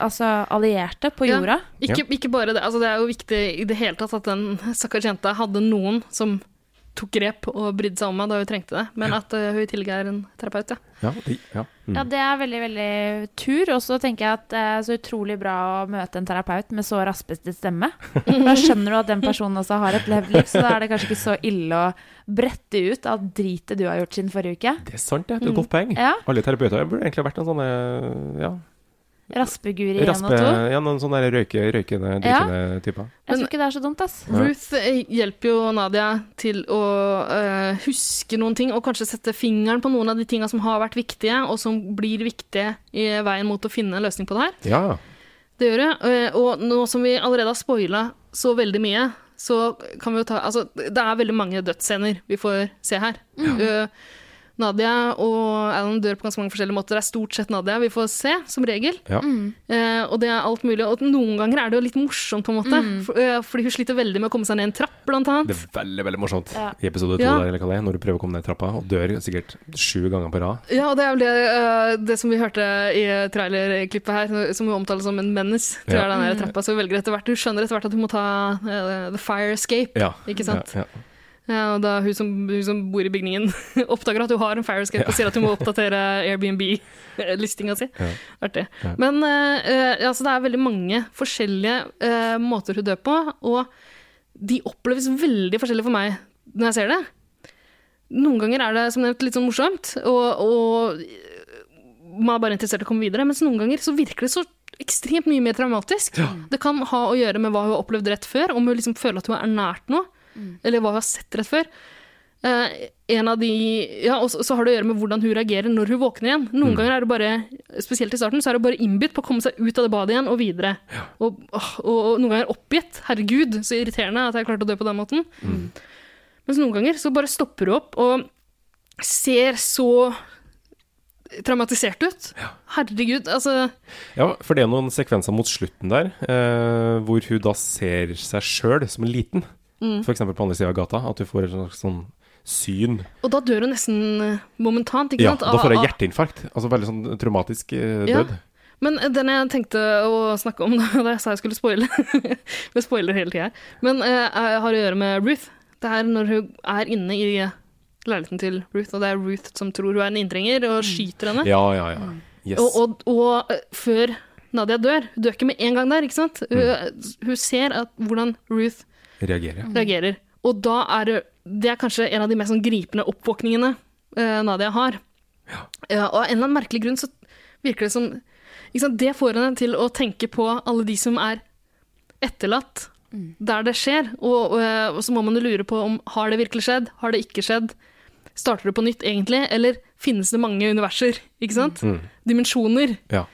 altså allierte på Ja. jorda. Ikke, ikke bare det. Altså, det er jo viktig i det hele tatt at den stakkars jenta hadde noen som tok grep og brydde seg om meg da hun trengte det, men at eh, hun i tillegg er en terapeut, ja. Ja, de, ja. Mm. Ja, det er veldig, veldig tur. Og så tenker jeg at det er så utrolig bra å møte en terapeut med så raspete stemme. For Da skjønner du at den personen også har et levd liv, så da er det kanskje ikke så ille å brette ut alt dritet du har gjort siden forrige uke. det er sant, det. Det er Mm. et godt poeng. Ja. Alle terapeuter burde egentlig ha vært noen sånne ja, Raspeguri én og raspe, to. ja, noen sånne røyke, røykende, Ja. drikkende typer. Jeg tror ikke det er så dumt, ass. Ruth eh, hjelper jo Nadia til å eh, huske noen ting, og kanskje sette fingeren på noen av de tinga som har vært viktige, og som blir viktige i veien mot å finne en løsning på det her. Ja. Det gjør det. eh, Og nå som vi allerede har spoila så veldig mye, så kan vi jo ta Altså, det er veldig mange dødsscener vi får se her. Eh, Nadia og Alan dør på ganske mange forskjellige måter. Det er stort sett Nadia vi får se, som regel. ja. Eh, og det er alt mulig. Og noen ganger er det jo litt morsomt, på en måte. For, eh, fordi hun sliter veldig med å komme seg ned en trapp, blant Det annet. er veldig veldig morsomt Ja. i episode to, Ja. der, eller hva det er, når du prøver å komme ned trappa og dør sikkert sju ganger på rad. Ja, og det er vel det, eh, det som vi hørte i trailerklippet her, som hun omtaler som en menace. Tror Ja. jeg den der trappa. Så hun velger etter hvert Hun skjønner etter hvert at hun må ta eh, the fire escape. Ja. Ikke sant? Ja, ja. Ja, og da hun som, hun som bor i bygningen *laughs* oppdager at hun har en fire escape og sier at hun må oppdatere *laughs* Airbnb-listinga si. Ja. Artig. Ja. Men eh, eh, altså, det er veldig mange forskjellige eh, måter hun dør på, og de oppleves veldig forskjellig for meg når jeg ser det. Noen ganger er det som nevnt litt sånn morsomt, og, og man er bare interessert i å komme videre, mens noen ganger så virker det så ekstremt mye mer traumatisk. Det kan ha å gjøre med hva hun har opplevd rett før, om hun liksom føler at hun er nært noe, eller hva hun har sett rett før. Eh, en av de, ja, og så, så har det å gjøre med hvordan hun reagerer når hun våkner igjen. Mm. Noen ganger er det bare, spesielt i starten, så er det bare innbytt på å komme seg ut av det badet igjen og videre. Og, åh, og, og noen ganger oppgitt. Herregud, så irriterende at jeg klarte å dø på den måten. Mm. Mens noen ganger så bare stopper hun opp og ser så traumatisert ut. Herregud, altså ja, for det er noen sekvenser mot slutten der, eh, hvor hun da ser seg sjøl som liten. Mm. For F.eks. på andre sida av gata, at hun får et slags sånn syn. Og da dør hun nesten eh, momentant, ikke Ja, sant? da får Av- hun av- hjerteinfarkt. Altså veldig sånn traumatisk eh, Ja. død. Men den jeg tenkte å snakke om *laughs* da da jeg sa jeg skulle spoile *laughs* Vi spoiler hele tida her. Men eh, jeg har å gjøre med Ruth. Det er når hun er inne i leiligheten til Ruth, og det er Ruth som tror hun er en inntrenger, og skyter henne. Ja, ja, ja. Yes. Mm. Og, og, og eh, før Nadia dør Hun dør ikke med en gang der, ikke sant? Hun, eh, hun ser at, hvordan Ruth Reagerer. reagerer. Og da er det, det er kanskje en av de mest sånn gripende oppvåkningene eh, Nadia har. Ja, og av en eller annen merkelig grunn så virker det som ikke sant? Det får henne til å tenke på alle de som er etterlatt der det skjer. Og, og, eh, og så må man jo lure på om har det virkelig skjedd, har det ikke skjedd? Starter det på nytt egentlig, eller finnes det mange universer? Ikke sant? Dimensjoner Ja.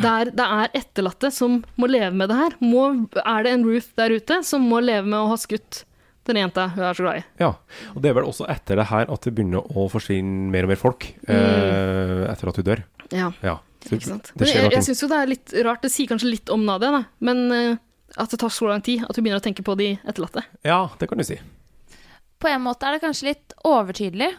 der det er etterlatte som må leve med det her. Må, er det en Ruth der ute som må leve med å ha skutt den jenta hun er så glad i? ja. Og det er vel også etter det her at det begynner å forsvinne mer og mer folk eh, etter at hun dør. Mm. Ja, Ja. Så ikke sant? Det Men skjer jeg jeg noe. syns jo det er litt rart, det sier kanskje litt om Nadia, da. men eh, at det tar så lang tid at hun begynner å tenke på de etterlatte. Ja, det kan du si. på en måte er det kanskje litt overtydelig.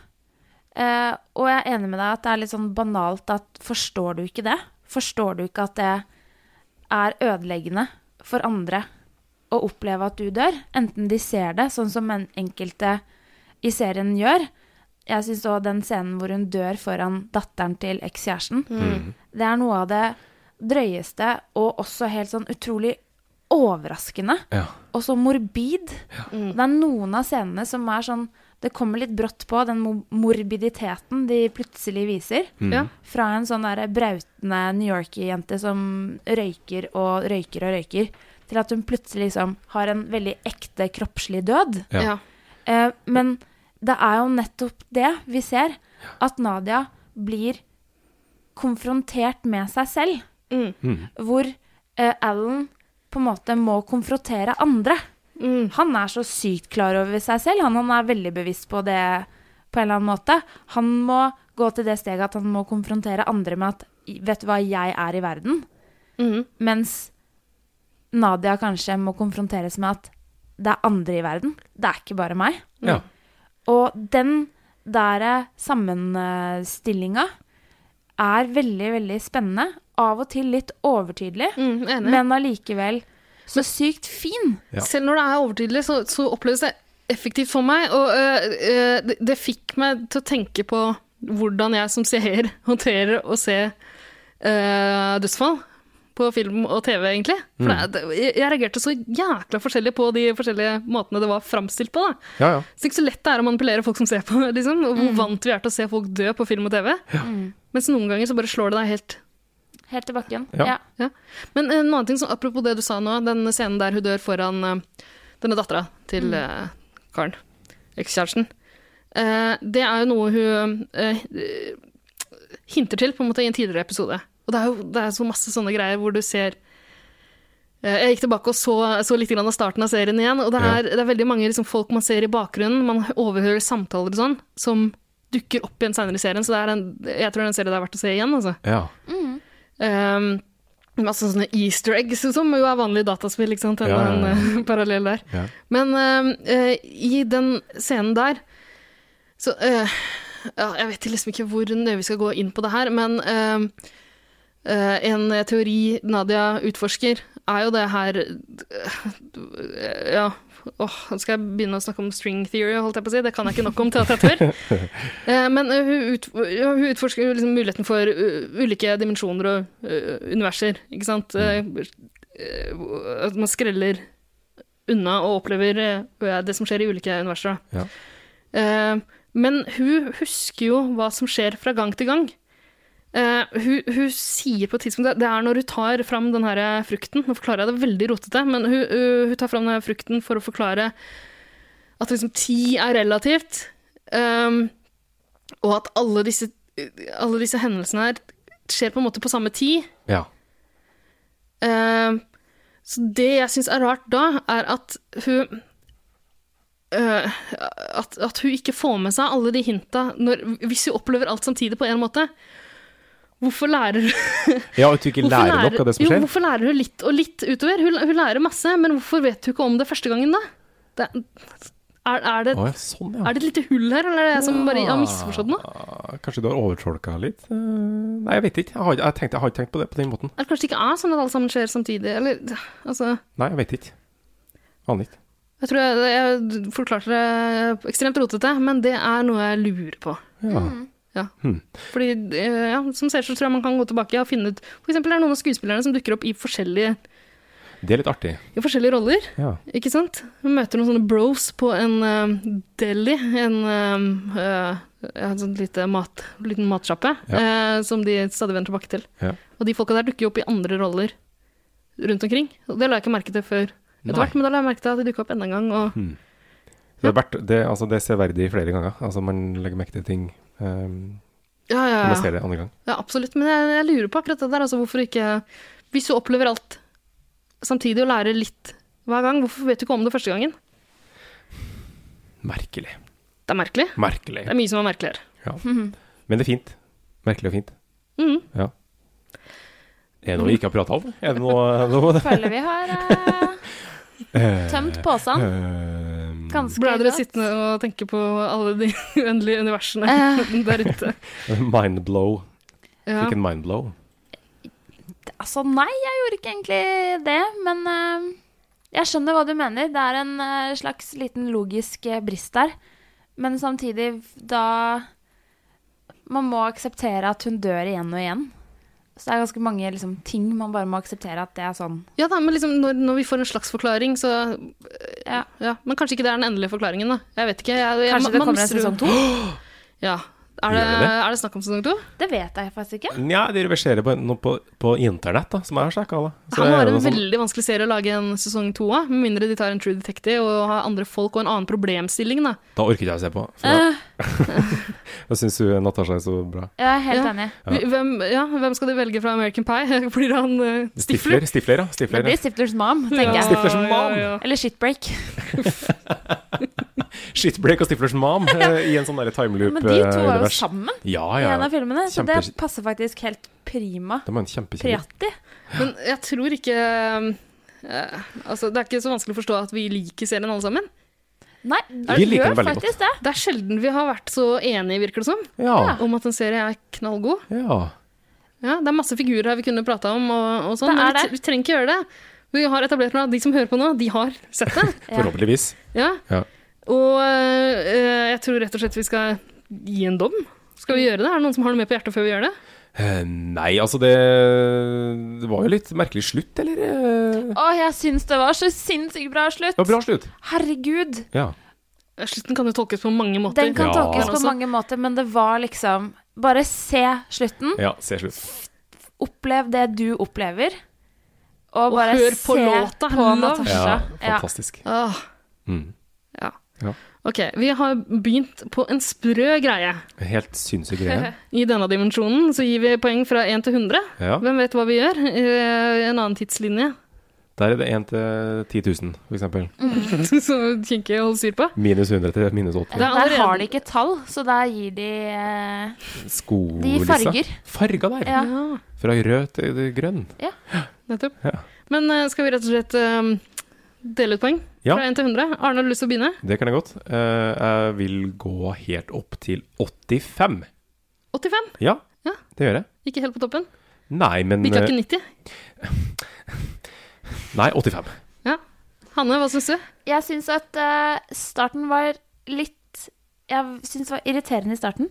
Eh, og jeg er enig med deg at det er litt sånn banalt at forstår du ikke det? Forstår du ikke at det er ødeleggende for andre å oppleve at du dør? Enten de ser det, sånn som en enkelte i serien gjør, Jeg syns òg den scenen hvor hun dør foran datteren til ekskjæresten, Mm. det er noe av det drøyeste og også helt sånn utrolig overraskende. Ja. Og så morbid. Mm. Det er noen av scenene som er sånn Det kommer litt brått på, den mo- morbiditeten de plutselig viser. Mm. Ja. Fra en sånn derre brautende New Yorker-jente som røyker og røyker og røyker, til at hun plutselig liksom har en veldig ekte kroppslig død. Ja. Ja. Eh, men det er jo nettopp det vi ser, at Nadia blir konfrontert med seg selv. Mm. Hvor eh, Alan på en måte må konfrontere andre. Han er så sykt klar over seg selv, han, han er veldig bevisst på det på en eller annen måte. Han må gå til det steget at han må konfrontere andre med at Vet du hva, jeg er i verden. Mhm. Mens Nadia kanskje må konfronteres med at det er andre i verden. Det er ikke bare meg. Ja. Og den der sammenstillinga er veldig, veldig spennende. Av og til litt overtydelig, Mhm, enig. men allikevel så sykt fin. Ja. Selv når det er overtydelig, så, så oppleves det effektivt for meg. Og øh, øh, det, det fikk meg til å tenke på hvordan jeg som seer *laughs* håndterer å se øh, dødsfall på film og TV, egentlig. For Mm. det, er- jeg, jeg reagerte så jækla forskjellig på de forskjellige måtene det var framstilt på. da. Ja, ja. Så det er ikke så lett det er å manipulere folk som ser på, *laughs* liksom, og hvor vant vi er til å se folk dø på film og TV. Mens noen ganger så bare slår det deg helt Mm. Helt til bakken. Ja. Ja. Men eh, en annen ting, som, apropos det du sa nå, den scenen der hun dør foran eh, denne dattera til Mm. eh, karen, ekskjæresten, eh, det er jo noe hun eh, eh, hinter til på en måte i en tidligere episode. Og det er jo det er så masse sånne greier hvor du ser eh, jeg gikk tilbake og så, så litt grann av starten av serien igjen, og det Ja. er, det er veldig mange liksom, folk man ser i bakgrunnen, man overhører samtaler og sånn, som dukker opp igjen senere i serien, så det er en, jeg tror den serien det er verdt å se igjen, altså. Ja. Um, masse sånne easter eggs, som jo er vanlige dataspill, ikke sant? Den, Ja, ja, ja. den, eh, *laughs* parallell der. Ja. Men um, eh, i den scenen der, så eh, ja, Jeg vet liksom ikke hvor nøye vi skal gå inn på det her, men um, eh, en teori Nadia utforsker, er jo det her eh, Ja, åh, nå skal jeg begynne å snakke om string theory, holdt jeg på å si. Det kan jeg ikke nok om til at jeg tør. Eh, Men eh, hun, ut, ja, hun utforsker jo liksom muligheten for eh, ulike dimensjoner og eh, universer, ikke sant? Eh, eh, At man skreller unna og opplever eh, det som skjer i ulike universer. da. Ja. Eh, Men hun husker jo hva som skjer fra gang til gang. Eh, hun, hun sier på et tidspunkt Det er når hun tar fram den her eh, frukten Nå forklarer jeg det veldig rotete, men hun, hun- hun tar fram den her frukten for å forklare at liksom ti er relativt. Um, og at alle disse, alle disse hendelsene her skjer på en måte på samme tid. Ja. Eh, så det jeg syns er rart da, er at hun eh, at, at hun ikke får med seg alle de hinta når, hvis hun opplever alt samtidig på én måte. Hvorfor lærer hun ja, at du ikke Hvorfor lærer nok av det som jo, skjer. Hvorfor lærer hun litt og litt utover? Hun, hun lærer masse, men hvorfor vet hun ikke om det første gangen, da? Det, er, er, det, Å, ja, sånn, ja. er det et lite hull her, eller er det jeg som bare har misforstått noe? Ah, Kanskje du har overtolka litt? Eh, Nei, jeg vet ikke. Jeg har, jeg, tenkte, jeg har ikke tenkt på det på den måten. Eller kanskje det ikke er sånn at alle sammen skjer samtidig? Eller, altså, Nei, jeg vet ikke. Aner ikke. jeg tror jeg, jeg forklarte det ekstremt rotete, men det er noe jeg lurer på. Ja. Ja. Hmm. Fordi, eh, ja, som seer så tror jeg man kan gå tilbake og finne ut For eksempel er det noen av skuespillerne som dukker opp i forskjellige, Det er litt artig. i forskjellige roller. Ja. Ikke sant? Hun møter noen sånne bros på en eh, deli, en eh, eh, ja, en sånn lite mat, liten matsjappe, Ja. eh, som de stadig vender tilbake til. Ja. Og de folka der dukker jo opp i andre roller rundt omkring. Og det la jeg ikke merke til før Nei. etter hvert, men da la jeg merke til at de dukka opp enda en gang. Og Hmm. Det, er verdt, det, altså, det er severdig flere ganger. Altså, man legger merke til ting eh, Ja, ja, når man ja. ser det andre gang. Ja, absolutt. Men jeg, jeg lurer på akkurat det der. Altså, hvorfor ikke Hvis du opplever alt samtidig og lærer litt hver gang, hvorfor vet du ikke om det første gangen? Merkelig. Det er merkelig. Merkelig. Det er mye som er merkeligere. Ja. Men det er fint. Merkelig og fint. Mhm. Ja. Er det noe vi ikke har prata om? Er det noe, *laughs* noe Føler vi har eh, tømt posen. Eh, Ganske Ble dere godt. sittende og tenke på alle de *laughs* uendelige universene Eh. *laughs* der ute? Mindblow. Ja. Fikk en mindblow. Altså, nei, jeg gjorde ikke egentlig det, men eh, jeg skjønner hva du mener. Det er en eh, slags liten logisk eh, brist der. Men samtidig, da Man må akseptere at hun dør igjen og igjen. Så det er ganske mange liksom, ting man bare må akseptere at det er sånn. Ja da, men liksom når, når vi får en slags forklaring, så ja. Men kanskje ikke det er den endelige forklaringen, da. Jeg vet ikke. Jeg, jeg, Kanskje det man kommer en mister- sesong to? Ja. Er det, Gjør det det? er det snakk om sesong to? Det vet jeg faktisk ikke. Nja, de reverserer på, noe på, på internett, da, som jeg har sjekka. Han har en sånn- veldig vanskelig serie å lage en sesong to av, med mindre de tar en True Detective og har andre folk og en annen problemstilling, da. Da orker ikke jeg å se på. for Eh. *laughs* da- Jeg syns Natasha er så bra. Jeg er helt Ja. enig. Vi- Hvem, ja, hvem skal de velge fra American Pie? *laughs* Blir han eh, Stifler, stifler, ja. Det Stifler, blir ja. Stiflers mom, tenker jeg. Stiflers mom! Eller shitbreak. Shitbreak og Stiflers *laughs* mom eh, i en sånn derre timeloop. Men de eh, to var jo eh, univers. sammen Ja, i ja. en av filmene, så Kjempe- det passer faktisk helt prima. De er en kjempekjemi. Priatti. Men jeg tror ikke eh, Altså, det er ikke så vanskelig å forstå at vi liker serien alle sammen. Nei, Vi liker den veldig faktisk det. Det er sjelden vi har vært så enige, virker det som, Ja. om at en serie er knallgod. ja. Ja, det er masse figurer her vi kunne prata om, og, og sånn, Det er men vi, det. tre- vi trenger ikke gjøre det. Vi har etablert nå at de som hører på nå, de har sett det. *laughs* Forhåpentligvis. Ja. Ja. Og eh, jeg tror rett og slett vi skal gi en dom. Skal vi gjøre det? Er det noen som har noe med på hjertet før vi gjør det? Eh, Nei, altså det Det var jo litt merkelig slutt, eller? eh? Å, jeg syns det var så sinnssykt bra slutt. Det var bra slutt. Herregud. Ja. Slutten kan jo tolkes på mange måter. Altså. Den kan Ja. tolkes Den på også. mange måter, men det var liksom Bare se slutten. ja se slutt. Opplev det du opplever. Og Og bare hør på se låta, på love. Natasha. Ja, fantastisk. Åh, Mm. Ah, ja. Ja. Ok, vi har begynt på en sprø greie. Helt sinnssyk *laughs* greie. I denne dimensjonen så gir vi poeng fra 1 til 100. Ja. Hvem vet hva vi gjør? Eh, En annen tidslinje *laughs* Der er det 1 til 10 000, for eksempel. som Kinky holder styr på. Minus 100 til minus Ja. 80. Det er Der har allerede- de ikke tall, så der gir de eh, De Skolissa. farger. Farger der. Ja. Ja, Fra rød til til grønn. nettopp. Ja. Men eh, skal vi rett og slett eh, dele ut poeng Ja. fra 1 til 100? Arne, har du lyst til å begynne? Det kan jeg godt. Eh, jeg vil gå helt opp til 85. 85? Ja, Ja. det gjør jeg. Ikke helt på toppen. Nei, men Bikka eh, ikke 90. Nei, 85. Ja. Hanne, hva syns du? Jeg syns at eh, starten var litt Jeg syns det var irriterende i starten.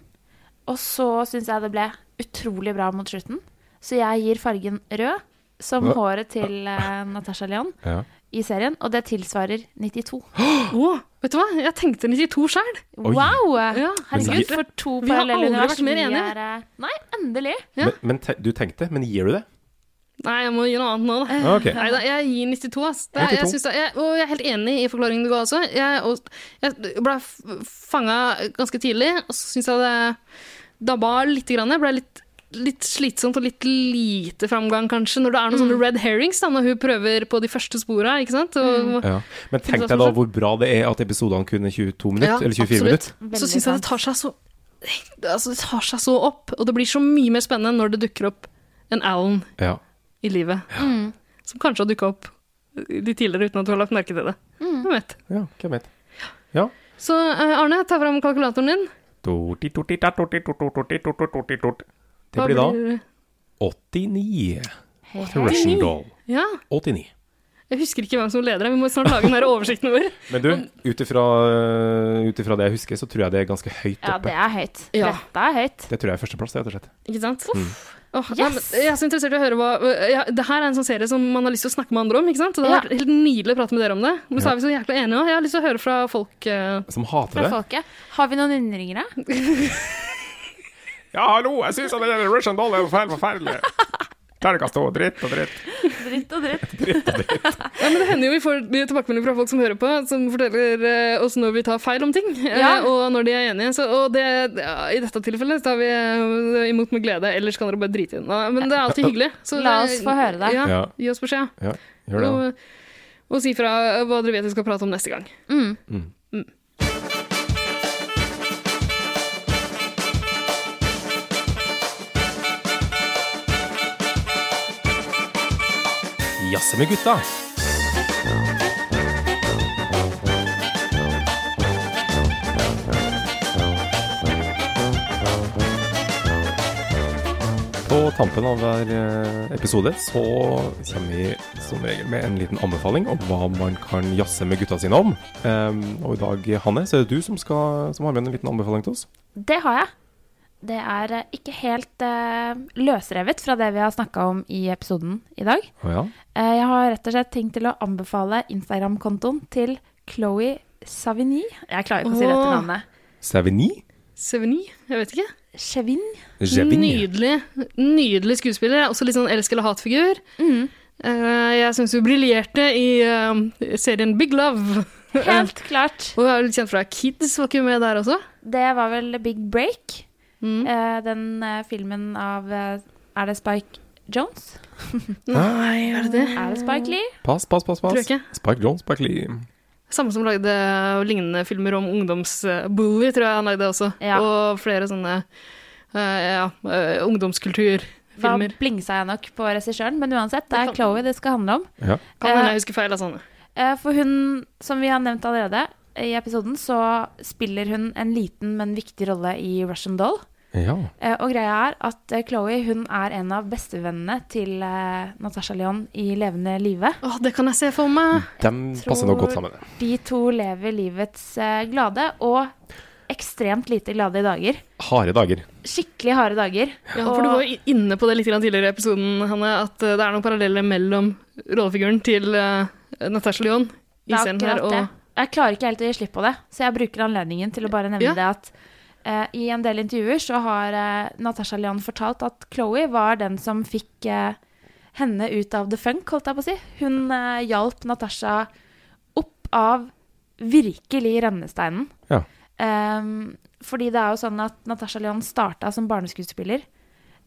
Og så syns jeg det ble utrolig bra mot slutten. Så jeg gir fargen rød, som Hva? håret til eh, Natasha Leon Ja. i serien. Og det tilsvarer 92. Å, vet du hva? Jeg tenkte 92 sjøl. Oi. Wow! Ja. Men Herregud, gi- for to Vi har parallelle aldri univers. vært mer Vi enige. er, eh, Nei, endelig. Ja. Men, men te du tenkte, men gir *laughs* du det? Nei, jeg må gi noe annet nå, da. Ja, Ok. Nei da, jeg gir 92, ass. Det, er- 92. Jeg synes det, jeg, og jeg er helt enig i forklaringen du ga også. Jeg, og, jeg ble fanga ganske tidlig, og så syns jeg det dabba litt. Grann. Jeg ble litt, litt slitsomt og litt lite framgang, kanskje, når det er noen Mm. sånne red herrings, da, når hun prøver på de første spora, ikke sant? *laughs* Og, Ja. Men tenk deg da hvor bra det er at episodene kunne 22 minutter, eller 24 minutter. Så syns jeg det tar seg så Altså, det tar seg så opp, og det blir så mye mer spennende når det dukker opp en Alan Ja. i livet. Som kanskje har dukka opp litt tidligere uten at du har lagt merke til det. Hvem vet? ja, hvem vet. Ja. Mm. Så eh, Arne, ta fram kalkulatoren din. Det Hva blir da blir- 89. The Russian Doll. Ja, 89. jeg husker ikke hvem som leder her. Vi må snart lage den her oversikten vår. Men du, ut ifra ut ifra det jeg husker, så tror jeg det er ganske høyt Ja, oppe. det er høyt. Ja. Dette er høyt. Det tror jeg er førsteplass, rett og slett. *laughs* Ikke sant? Mm. Åh, Yes! nei, men jeg er så interessert i å høre hva ja, Det her er en sånn serie som man har lyst til å snakke med andre om. ikke sant? Så Det har Ja. vært helt nydelig å prate med dere om det. Men så er vi så jækla enige òg. Jeg har lyst til å høre fra folk. eh, Som hater Fra det. folket. Har vi noen innringere? Ja, hallo, jeg syns at det Russian Doll er helt forferdelig. Terningkast to, dritt og dritt. Dritt og dritt. Ja, men Det hender jo vi får tilbakemeldinger fra folk som hører på, som forteller eh, oss når vi tar feil om ting, *laughs* eh, Ja. og når de er enige. Så, og det, ja, I dette tilfellet så tar vi eh, imot med glede, ellers kan dere bare drite i det. Nei, Men det er alltid hyggelig. Så La oss få høre det. Ja, Ja. Gi oss beskjed. Ja, gjør det. da. Og, og si fra eh, hva dere vet vi skal prate om neste gang. Jazze med gutta. På tampen av hver eh, episode så kommer vi som regel med en liten anbefaling om hva man kan jazze med gutta sine om. Ehm, og i dag, Hanne, så er det du som, skal, som har med en liten anbefaling til oss. Det har jeg. Det er eh, ikke helt eh, løsrevet fra det vi har snakka om i episoden i dag. Å ja. Eh, jeg har rett og slett tenkt til å anbefale Instagram-kontoen til Chloé Savigny. Jeg klarer ikke å si Åh. dette navnet. Savigny? Seveny? Jeg vet ikke. Chevin. Javigny? Nydelig nydelig skuespiller. Også litt sånn elsk- eller hatfigur. Mm. Eh, jeg syns hun briljerte i eh, serien Big Love. Helt klart. *laughs* Og hun er jo litt kjent fra Kids, var ikke hun med der også? Det var vel Big Break. Mm. Eh, den eh, filmen av eh, Er det Spike Jones? Nei, er det det? Er det Spike Lee? Pass, pass, pass. Tror pass. jeg ikke. Spike Jones, Spike Lee. Samme som lagde lignende filmer om ungdomsbully, tror jeg han lagde også. Ja. Og flere sånne eh, ja, eh, Da ungdomskulturfilmer. blingsa jeg nok på regissøren, men uansett, det er Det kan- Chloé det skal handle om. Ja. Kan hende Eh, jeg husker feil altså. av sånne. Eh, For hun, som vi har nevnt allerede i episoden, så spiller hun en liten, men viktig rolle i Russian Doll. ja. Eh, Og greia er at eh, Chloe hun er en av bestevennene til eh, Natasha Leon i levende live. Å, det kan jeg se for meg! De passer Tror- nok godt sammen. De to lever livets eh, glade og ekstremt lite glade dager. Harde dager. Skikkelig harde dager. Ja, og for Du var jo inne på det litt grann tidligere i episoden, Hanne, at eh, det er noen paralleller mellom rollefiguren til eh, Natasha Lyon i det er serien her. akkurat Og, det. Jeg klarer ikke helt å gi slipp på det, så jeg bruker anledningen til å bare nevne Ja. det at eh, i en del intervjuer så har eh, Natasha Leon fortalt at Chloé var den som fikk eh, henne ut av the funk, holdt jeg på å si. Hun eh, hjalp Natasha opp av virkelig rennesteinen. Ja. Ehm, fordi det er jo sånn at Natasha Leon starta som barneskuespiller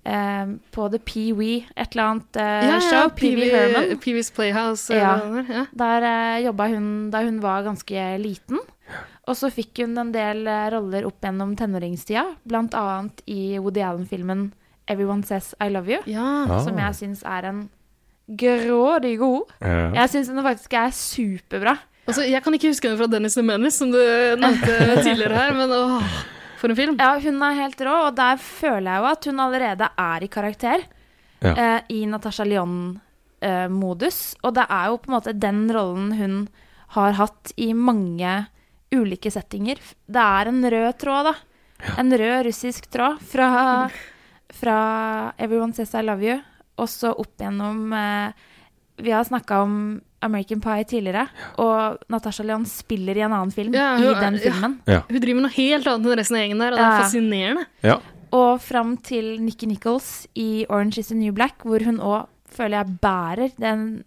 ehm, på The Pee-Wee, et eller annet eh, ja, ja, show. Pee-Wee Herman. Peewee's Playhouse. eh, Ja. hva det var, ja. Der eh, jobba hun da hun var ganske liten. Og så fikk hun en del eh, roller opp gjennom tenåringstida, blant annet i Woody Allen-filmen 'Everyone Says I Love You', ja. Ah. som jeg syns er en grådig god. Eh, Jeg syns den faktisk er superbra. Altså, jeg kan ikke huske henne fra Dennis the Menace, som du nevnte *laughs* tidligere her, men åh, for en film. Ja, hun er helt rå, og der føler jeg jo at hun allerede er i karakter. Ja. eh, I Natasha Lyon-modus. og det er jo på en måte den rollen hun har hatt i mange ulike settinger. Det er en rød tråd, da. En rød russisk tråd fra, fra 'Everyone Says I Love You', og så opp gjennom eh, Vi har snakka om American Pie tidligere, og Natasha Lyon spiller i en annen film Ja, i hun er- den ja. filmen. Hun driver med noe helt annet enn resten av gjengen der, og det Ja. er fascinerende. ja. Og fram til Nikki Nichols i Orange is the New Black, hvor hun òg føler jeg bærer den,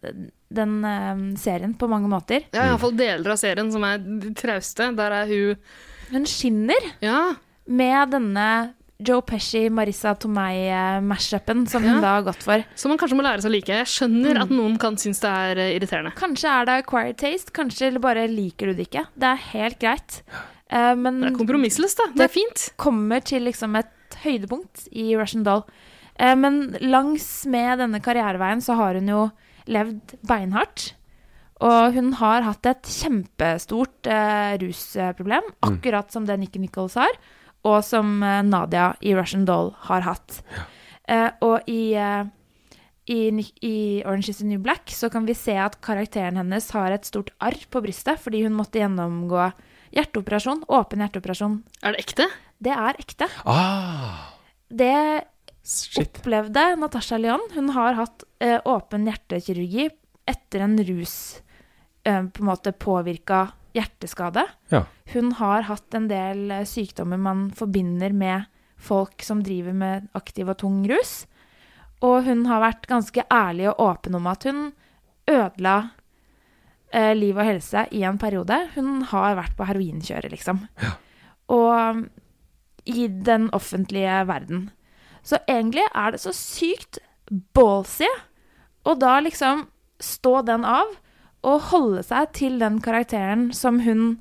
den eh, serien på mange måter. Ja, i hvert fall deler av serien som er de trauste. Der er hun Hun skinner Ja, med denne Joe Pesci, Marissa Tomei-mashupen som Ja. hun da har gått for. som man kanskje må lære seg å like. Jeg skjønner at noen kan synes det er eh, irriterende. Kanskje er det acquired taste, kanskje bare liker du det ikke. Det er helt greit. Eh, men Det er kompromissløst, da. Mm. Det er fint. kommer til liksom et høydepunkt i Russian Doll. Eh, men langs med denne karriereveien så har hun jo levd beinhardt. Og hun har hatt et kjempestort eh, rusproblem, akkurat som det Nikki Nichols har, og som eh, Nadia i Russian Doll har hatt. Eh, og i, eh, i, Ni- i Orange is the New Black så kan vi se at karakteren hennes har et stort arr på brystet fordi hun måtte gjennomgå hjerteoperasjon, åpen hjerteoperasjon Er det ekte? det er ekte. Ah, Det shit. opplevde Natasha Lyon. Hun har hatt eh, åpen hjertekirurgi etter en rus eh, på en måte påvirka hjerteskade. Ja. Hun har hatt en del eh, sykdommer man forbinder med folk som driver med aktiv og tung rus. Og hun har vært ganske ærlig og åpen om at hun ødela eh, liv og helse i en periode. Hun har vært på heroinkjøret, liksom. Og i den offentlige verden. Så egentlig er det så sykt ballsy å da liksom stå den av og holde seg til den karakteren som hun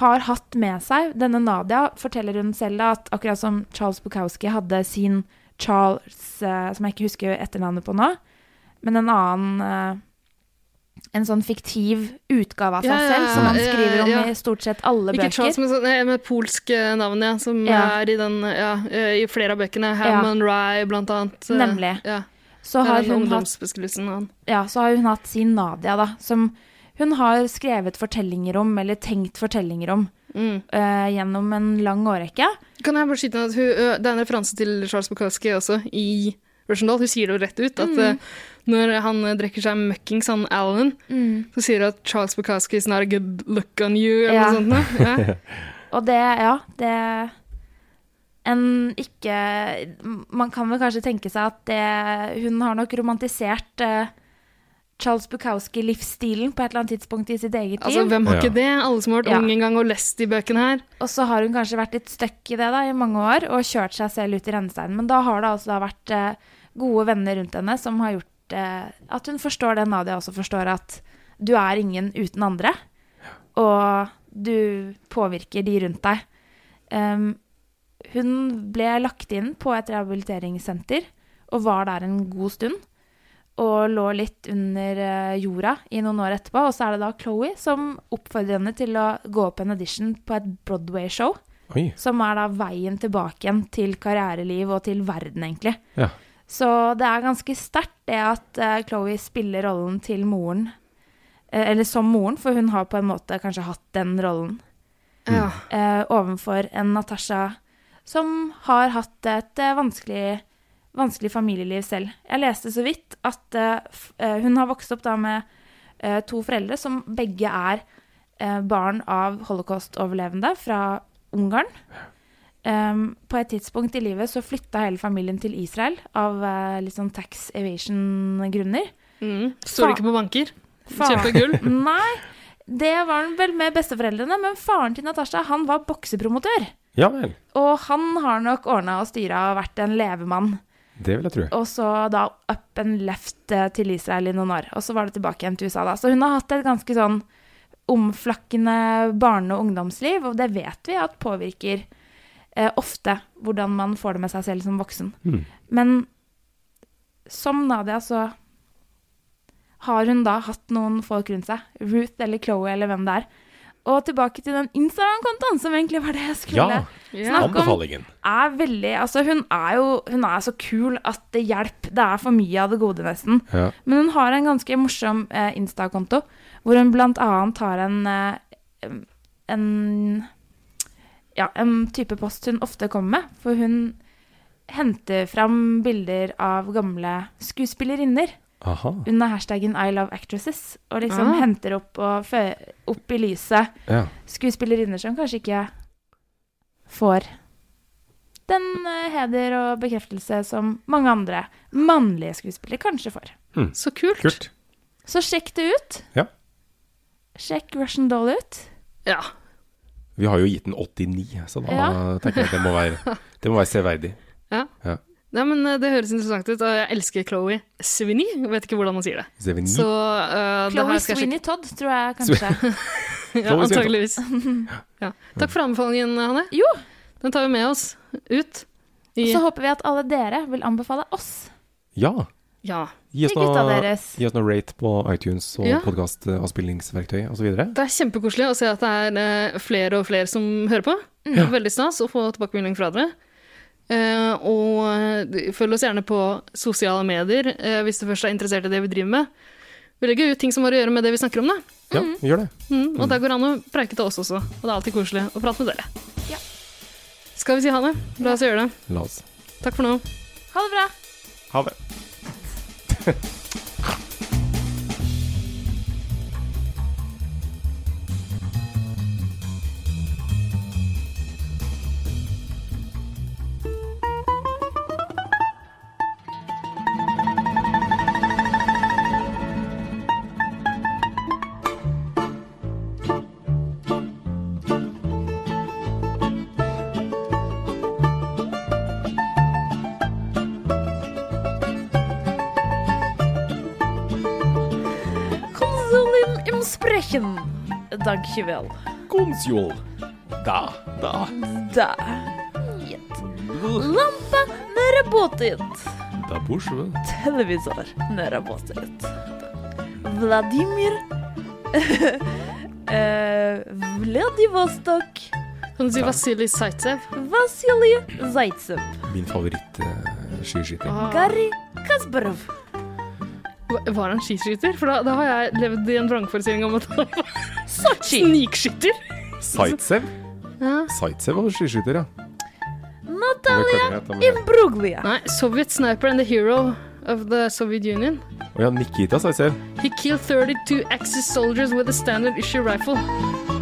har hatt med seg. Denne Nadia forteller hun selv da at akkurat som Charles Bukowski hadde sin Charles, eh, som jeg ikke husker etternavnet på nå, men en annen eh, en sånn fiktiv utgave av seg Ja, ja, selv, som han ja, skriver om ja. i stort sett alle Ikke Charles, bøker. men sånn, eh, med polsk eh, navn, ja. Som Ja. er i, den, ja, eh, i flere av bøkene. Ja. Hammond Rye, blant annet. eh, Nemlig. Ja. Så har hun hatt ungdomsbeskrivelsen av han. ja, så har hun hatt sin Nadia, da, som hun har skrevet fortellinger om, eller tenkt fortellinger om, Mm. eh, gjennom en lang årrekke. Kan jeg bare skyte inn at hun, ø, Det er en referanse til Charles Bukowski også i Russian Doll. Hun sier det jo rett ut. Mm. at ø, Når han ø, drikker seg møkkings, han Alan, Mm. så sier hun at Charles Bukowski is not a good look on you, eller Ja. noe sånt. noe. *laughs* Ja. Og det, ja, det En ikke Man kan vel kanskje tenke seg at det Hun har nok romantisert eh, Charles Bukowski-livsstilen på et eller annet tidspunkt i sitt eget Altså, liv. Hvem har Ja. ikke det? Alle som har vært Ja. unge en gang og lest de bøkene her. Og så har hun kanskje vært litt støkk i det da, i mange år og kjørt seg selv ut i rennesteinen. Men da har det altså da vært eh, gode venner rundt henne som har gjort eh, at hun forstår det Nadia også forstår, at du er ingen uten andre. Og du påvirker de rundt deg. Em, hun ble lagt inn på et rehabiliteringssenter og var der en god stund. Og lå litt under eh, jorda i noen år etterpå. Og så er det da Chloé som oppfordrer henne til å gå på en audition på et Broadway-show. Oi. Som er da veien tilbake igjen til karriereliv og til verden, egentlig. Ja. Så det er ganske sterkt det at eh, Chloé spiller rollen til moren. eh, Eller som moren, for hun har på en måte kanskje hatt den rollen Ja. Mm. eh, overfor en Natasha som har hatt et eh, vanskelig, vanskelig familieliv selv. Jeg leste så vidt at eh, f eh, hun har vokst opp da med eh, to foreldre som begge er eh, barn av holocaust-overlevende fra Ungarn. Em, på et tidspunkt i livet så flytta hele familien til Israel av eh, litt sånn tax evasion-grunner. Mm. Står Fa- ikke på banker. Faen. Kjøper gull. *laughs* Nei, det var han vel med besteforeldrene, men faren til Natasha, han var boksepromotør. ja vel. Og han har nok ordna og styra og vært en levemann. Det vil jeg tro. Og så da up and left eh, til Israel i noen år. Og så var det tilbake igjen til USA da. Så hun har hatt et ganske sånn omflakkende barne- og ungdomsliv, og det vet vi at påvirker eh, ofte hvordan man får det med seg selv som voksen. Mm. Men som Nadia så har hun da hatt noen folk rundt seg. Ruth eller Chloé eller hvem det er. Og tilbake til den Instagram-kontoen, som egentlig var det jeg skulle Ja. Ja. snakke om Anbefalingen. er veldig Altså, hun er jo hun er så kul at det hjelper. Det er for mye av det gode, nesten. Ja. Men hun har en ganske morsom eh, Insta-konto, hvor hun blant annet har en eh, en ja, en type post hun ofte kommer med, for hun henter fram bilder av gamle skuespillerinner Aha. under hashtaggen I love actresses, og liksom Ah. henter opp, og fø- opp i lyset Ja. skuespillerinner som kanskje ikke får den eh, heder og bekreftelse som mange andre mannlige skuespillere kanskje får. Så kult. Kult. Så sjekk det ut. Ja. Sjekk Russian Doll ut. Ja. Vi har jo gitt den 89, så da Ja. tenker jeg at det må være, det må være severdig. Ja. Ja. Nei, men eh, Det høres interessant ut, og jeg elsker Chloé Sevigny. Jeg Vet ikke hvordan man sier det. Sevigny. Så eh, det Chloé her skal jeg sjekke. Sweeney Todd, tror jeg kanskje. Ja, Chloe Sevigny. antageligvis. *laughs* Ja. Takk for anbefalingen, Hanne. Jo, Den tar vi med oss ut. og I, så håper vi at alle dere vil anbefale oss Ja. ja. Gi oss til gutta noe, deres. gi oss noe rate på iTunes og Ja. podkastavspillingsverktøy osv. Det er kjempekoselig å se at det er eh, flere og flere som hører på. Mm. Veldig stas å få tilbakemelding fra dere. Eh, og eh, følg oss gjerne på sosiale medier eh, hvis du først er interessert i det vi driver med. Vi legger ut ting som har å gjøre med det vi snakker om, da. Ja, Mhm. gjør det. Mm, og der går det an å preike til oss også. Og det er alltid koselig å prate med dere. Ja. Skal vi si ha det? La oss gjøre det. La oss Takk for nå. Ha det bra! ha det. Konsulin im sprechen. Dankjewel. Komsjol. Da, da. Da. Lampa nere båtet. Da bursdag. Televisor nere båtet. Vladimir. *laughs* Eh, Vladivostok. Kan du si Vasilij Zaitsev? Vasilij Zaitsev. Min eh, favoritt-skiskyting. Garri Kasparov. Var var han skiskytter? For da, da har jeg levd i en vrangforestilling om at han var *laughs* Sotsji. snikskytter. Zaitsev? Ja. Zaitsev var skiskytter, ja. Natalia Det kan jeg hete, Imbruglia. Nei, Soviet sniper and the hero of the Soviet Union. men- Å ja, Nikita Zaitsev. He killed 32 Axis soldiers with a standard issue rifle.